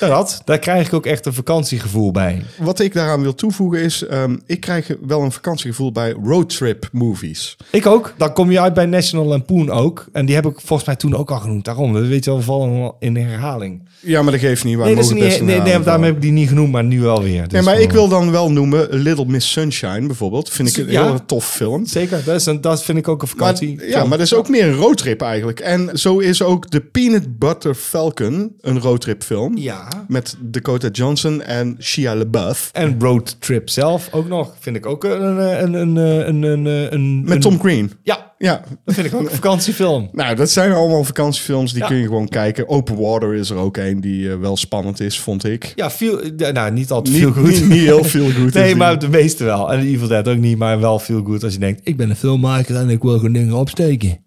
Speaker 1: Ja, dat, daar krijg ik ook echt een vakantiegevoel bij.
Speaker 2: Wat ik daaraan wil toevoegen is, ehm, ik krijg wel een vakantiegevoel bij roadtrip movies.
Speaker 1: Ik ook. Dan kom je uit bij National Lampoon ook. En die heb ik volgens mij toen ook al genoemd. Daarom, dat weet je wel, we vallen in de herhaling.
Speaker 2: Ja, maar dat geeft niet. Wij
Speaker 1: Nee, dat is
Speaker 2: mogen
Speaker 1: niet,
Speaker 2: best
Speaker 1: nee,
Speaker 2: een
Speaker 1: nee,
Speaker 2: herhaling
Speaker 1: daarom heb
Speaker 2: vallen.
Speaker 1: ik die niet genoemd, maar nu wel weer. Dus
Speaker 2: Nee, maar ik
Speaker 1: gewoon-
Speaker 2: wil dan wel noemen Little Miss Sunshine bijvoorbeeld. Vind ik een
Speaker 1: Ja.
Speaker 2: heel tof film.
Speaker 1: Zeker, dat, is een, dat vind ik ook een
Speaker 2: Maar,
Speaker 1: vakantie.
Speaker 2: ja, maar dat is ook meer een roadtrip eigenlijk. En zo is ook de Peanut Butter Falcon een roadtrip film.
Speaker 1: Ja.
Speaker 2: Met Dakota Johnson en Shia LaBeouf.
Speaker 1: En roadtrip zelf ook nog. Vind ik ook een... eh, een, een, een, een, een, een-
Speaker 2: Met Tom Green.
Speaker 1: Ja,
Speaker 2: Ja.
Speaker 1: dat vind ik ook een vakantiefilm.
Speaker 2: Nou, dat zijn allemaal vakantiefilms. Die
Speaker 1: Ja.
Speaker 2: kun je gewoon kijken. Open Water is er ook een die eh, wel spannend is, vond ik.
Speaker 1: Ja, veel, ja, nou, niet altijd
Speaker 2: Niet-
Speaker 1: veel goed.
Speaker 2: niet- niet heel feel-good is
Speaker 1: Nee,
Speaker 2: die.
Speaker 1: maar de meeste wel. En Evil Dead ook niet, maar wel veel goed als je denkt... ik ben een filmmaker en ik wil gewoon dingen opsteken.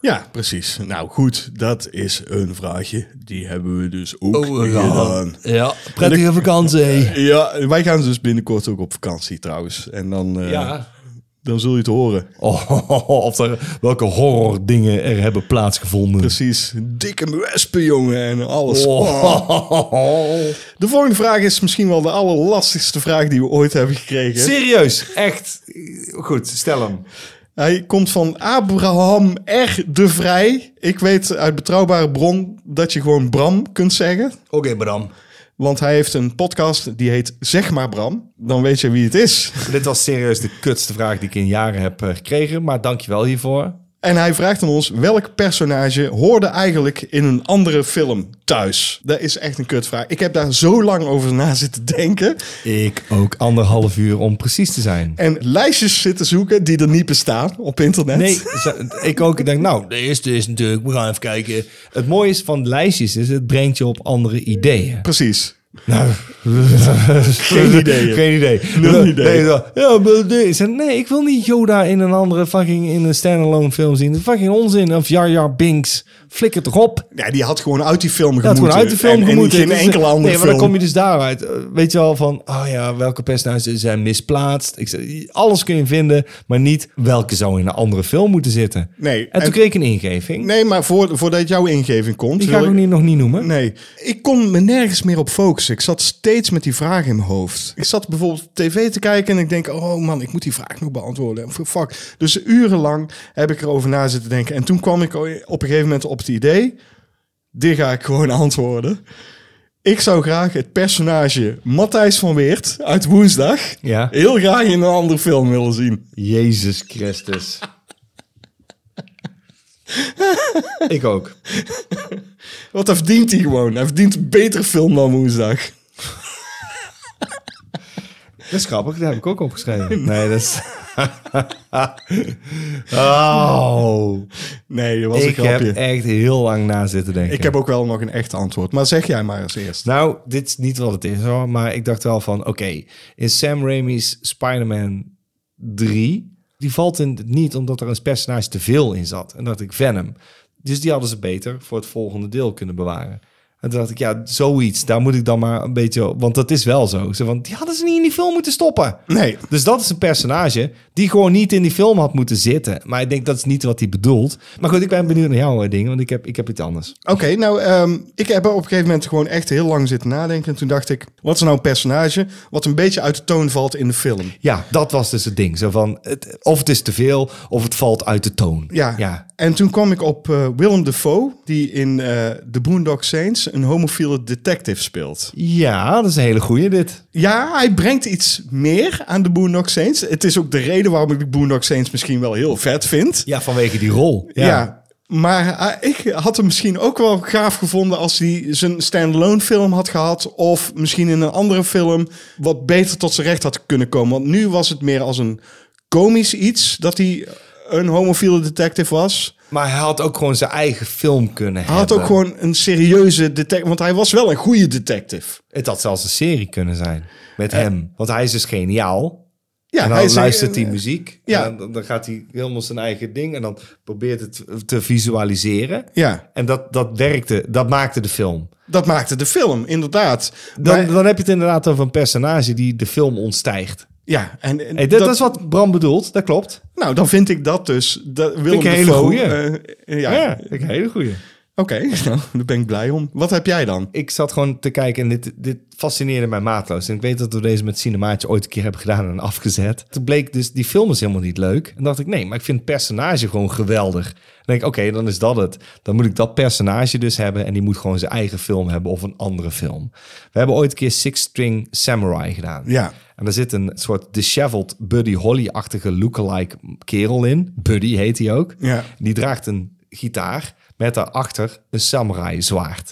Speaker 2: Ja, precies. Nou goed, dat is een vraagje. Die hebben we dus ook
Speaker 1: Oh, ja.
Speaker 2: gedaan.
Speaker 1: Ja, prettige vakantie.
Speaker 2: Ja, wij gaan dus binnenkort ook op vakantie trouwens. En dan, eh,
Speaker 1: Ja.
Speaker 2: dan zul je het horen.
Speaker 1: Oh, of er, welke horror dingen er hebben plaatsgevonden.
Speaker 2: Precies. Dikke wespen, jongen, en alles.
Speaker 1: Oh.
Speaker 2: De volgende vraag is misschien wel de allerlastigste vraag die we ooit hebben gekregen.
Speaker 1: Serieus, echt. Goed, stel hem.
Speaker 2: Hij komt van Abraham R. de Vrij. Ik weet uit betrouwbare bron dat je gewoon Bram kunt zeggen.
Speaker 1: Oké, Bram.
Speaker 2: Want hij heeft een podcast die heet Zeg maar Bram. Dan weet je wie het is.
Speaker 1: Dit was serieus de kutste vraag die ik in jaren heb eh, gekregen. Maar dankjewel hiervoor.
Speaker 2: En hij vraagt aan ons welk personage hoorde eigenlijk in een andere film thuis. Dat is echt een kutvraag. Ik heb daar zo lang over na zitten denken.
Speaker 1: Ik ook anderhalf uur om precies te zijn.
Speaker 2: En lijstjes zitten zoeken die er niet bestaan op internet.
Speaker 1: Nee, ze- ik ook. Ik denk, nou, de eerste is natuurlijk, we gaan even kijken. Het mooie is van lijstjes is, het brengt je op andere ideeën.
Speaker 2: Precies.
Speaker 1: Nou,
Speaker 2: Geen idee.
Speaker 1: Geen idee.
Speaker 2: Nul idee.
Speaker 1: Nee, zo, ja, maar nee. Ik zei, nee, ik wil niet Yoda in een andere fucking in een standalone film zien. Dat is fucking onzin. Of Jar Jar Binks. Flikker toch op.
Speaker 2: Ja, die had gewoon uit die film
Speaker 1: Dat
Speaker 2: gemoeten.
Speaker 1: had gewoon uit de
Speaker 2: En-
Speaker 1: film
Speaker 2: en,
Speaker 1: gemoeten.
Speaker 2: geen
Speaker 1: Het is-
Speaker 2: enkele andere
Speaker 1: Nee, maar dan
Speaker 2: film.
Speaker 1: kom je dus daaruit. Eh, Weet je wel van, oh ja, welke personages zijn misplaatst. Ik zei, alles kun je vinden, maar niet welke zou in een andere film moeten zitten.
Speaker 2: Nee,
Speaker 1: En,
Speaker 2: en-
Speaker 1: toen kreeg ik een ingeving.
Speaker 2: Nee, maar voor, voordat jouw ingeving komt...
Speaker 1: Die ga ik
Speaker 2: wil
Speaker 1: ook niet, nog niet noemen.
Speaker 2: Nee, ik kon me nergens meer op focussen. Ik zat steeds met die vraag in mijn hoofd. Ik zat bijvoorbeeld tv te kijken en ik denk... oh man, ik moet die vraag nog beantwoorden. Fuck. Dus urenlang heb ik erover na zitten denken. En toen kwam ik op een gegeven moment op het idee... dit ga ik gewoon antwoorden. Ik zou graag het personage Matthijs van Weert uit Woensdag...
Speaker 1: Ja.
Speaker 2: heel graag in een andere film willen zien.
Speaker 1: Jezus Christus. ik ook.
Speaker 2: Want hij verdient hij gewoon. Hij verdient een betere film dan Woensdag.
Speaker 1: Dat is grappig, daar heb ik ook opgeschreven. Nee, dat is... oh,
Speaker 2: Nee, dat was
Speaker 1: ik
Speaker 2: een
Speaker 1: heb
Speaker 2: grapje.
Speaker 1: echt heel lang na zitten denken.
Speaker 2: Ik heb ook wel nog een echt antwoord. Maar zeg jij maar als eerst.
Speaker 1: Nou, dit is niet wat het is hoor, maar ik dacht wel van... Oké, in Sam Raimi's Spider-Man 3... Die valt in het niet omdat er een personage te veel in zat. En dat ik Venom. Dus die hadden ze beter voor het volgende deel kunnen bewaren. En toen dacht ik, ja, zoiets. Daar moet ik dan maar een beetje... op- Want dat is wel zo. Zo van, die hadden ze niet in die film moeten stoppen.
Speaker 2: Nee.
Speaker 1: Dus dat is een personage die gewoon niet in die film had moeten zitten. Maar ik denk dat is niet wat hij bedoelt. Maar goed, ik ben benieuwd naar jouw eh, dingen, want ik heb, ik heb iets anders.
Speaker 2: Oké, nou, ehm, ik heb er op een gegeven moment gewoon echt heel lang zitten nadenken. En toen dacht ik, wat is nou een personage wat een beetje uit de toon valt in de film?
Speaker 1: Ja, dat was dus het ding. Zo van, het, of het is te veel, of het valt uit de toon.
Speaker 2: Ja.
Speaker 1: ja.
Speaker 2: En toen kwam ik op eh, Willem Dafoe, die in eh The Boondock Saints een homofiele detective speelt.
Speaker 1: Ja, dat is een hele goeie dit.
Speaker 2: Ja, hij brengt iets meer aan de Boondock Saints. Het is ook de reden waarom ik de Boondock Saints misschien wel heel vet vind.
Speaker 1: Ja, vanwege die rol.
Speaker 2: Ja. Maar eh, ik had hem misschien ook wel gaaf gevonden als hij zijn standalone film had gehad. Of misschien in een andere film wat beter tot zijn recht had kunnen komen. Want nu was het meer als een komisch iets dat hij een homofiele detective was.
Speaker 1: Maar hij had ook gewoon zijn eigen film kunnen
Speaker 2: Hij
Speaker 1: hebben.
Speaker 2: had ook gewoon een serieuze detective. Want hij was wel een goede detective.
Speaker 1: Het had zelfs een serie kunnen zijn met hem. Want hij is dus geniaal.
Speaker 2: Ja,
Speaker 1: en dan
Speaker 2: hij is-
Speaker 1: luistert hij muziek.
Speaker 2: Ja.
Speaker 1: En dan, dan gaat hij helemaal zijn eigen ding. En dan probeert het te visualiseren.
Speaker 2: Ja,
Speaker 1: En dat, dat werkte, dat maakte de film.
Speaker 2: dat maakte de film, inderdaad.
Speaker 1: Dan,
Speaker 2: Maar-
Speaker 1: dan heb je het inderdaad over een personage die de film ontstijgt.
Speaker 2: ja, en, en
Speaker 1: Hey, dat, dat is wat Bram bedoelt, dat klopt.
Speaker 2: Nou, dan vind ik dat dus. Dat, Willem
Speaker 1: ik een hele
Speaker 2: Dafoe,
Speaker 1: goeie.
Speaker 2: eh, ja,
Speaker 1: Ja, ik een hele goeie.
Speaker 2: oké. nou, daar ben ik blij om. Wat heb jij dan?
Speaker 1: Ik zat gewoon te kijken en dit, dit fascineerde mij maatloos. En ik weet dat we deze met Cinemaatje ooit een keer hebben gedaan en afgezet. Toen bleek dus, die film is helemaal niet leuk. En dacht ik, nee, maar ik vind het personage gewoon geweldig. Dan denk ik, oké, dan is dat het. Dan moet ik dat personage dus hebben en die moet gewoon zijn eigen film hebben of een andere film. We hebben ooit een keer Six String Samurai gedaan.
Speaker 2: Ja.
Speaker 1: En daar zit een soort disheveled Buddy Holly-achtige lookalike kerel in. Buddy heet hij ook.
Speaker 2: Ja.
Speaker 1: Die draagt een gitaar met daarachter een samurai zwaard.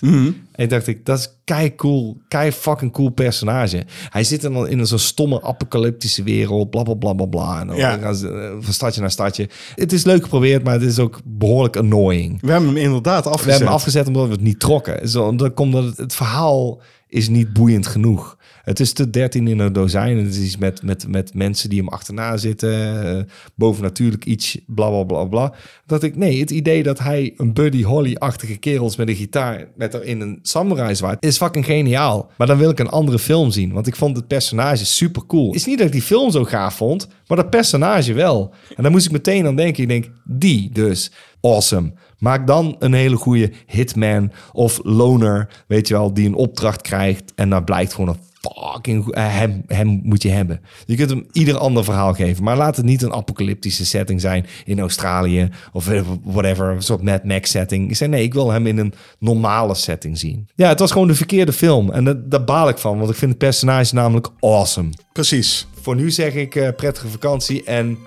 Speaker 1: En dacht ik, dat is kei cool, kei fucking cool personage. Hij zit dan in zo'n stomme apocalyptische wereld, bla bla bla bla bla. En dan
Speaker 2: Ja.
Speaker 1: gaan ze eh, van stadje naar stadje. Het is leuk geprobeerd, maar het is ook behoorlijk annoying.
Speaker 2: We hebben hem inderdaad
Speaker 1: We
Speaker 2: afgezet.
Speaker 1: hebben hem afgezet omdat we het niet trokken. Zo, dat komt dat het, het verhaal is niet boeiend genoeg. Het is te 13 in een dozijn. Het is iets met, met, met mensen die hem achterna zitten. eh, bovennatuurlijk iets, bla bla bla bla. Dat ik, nee, het idee dat hij een Buddy Holly-achtige kerels met een gitaar. met erin een samurai zwaard. is fucking geniaal. Maar dan wil ik een andere film zien. Want ik vond het personage super cool. is niet dat ik die film zo gaaf vond. maar dat personage wel. En dan moest ik meteen aan denken. Ik denk, die dus. Awesome. Maak dan een hele goede hitman of loner, weet je wel, die een opdracht krijgt en dan blijkt gewoon een fucking goe- eh, hem, hem moet je hebben. Je kunt hem ieder ander verhaal geven, maar laat het niet een apocalyptische setting zijn in Australië of eh, whatever, een soort Mad Max setting. Ik zei nee, ik wil hem in een normale setting zien. Ja, het was gewoon de verkeerde film en dat- daar baal ik van, want ik vind het personage namelijk awesome.
Speaker 2: Precies.
Speaker 1: Voor nu zeg ik eh, prettige vakantie en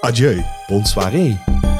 Speaker 2: Adieu.
Speaker 1: bonne soirée.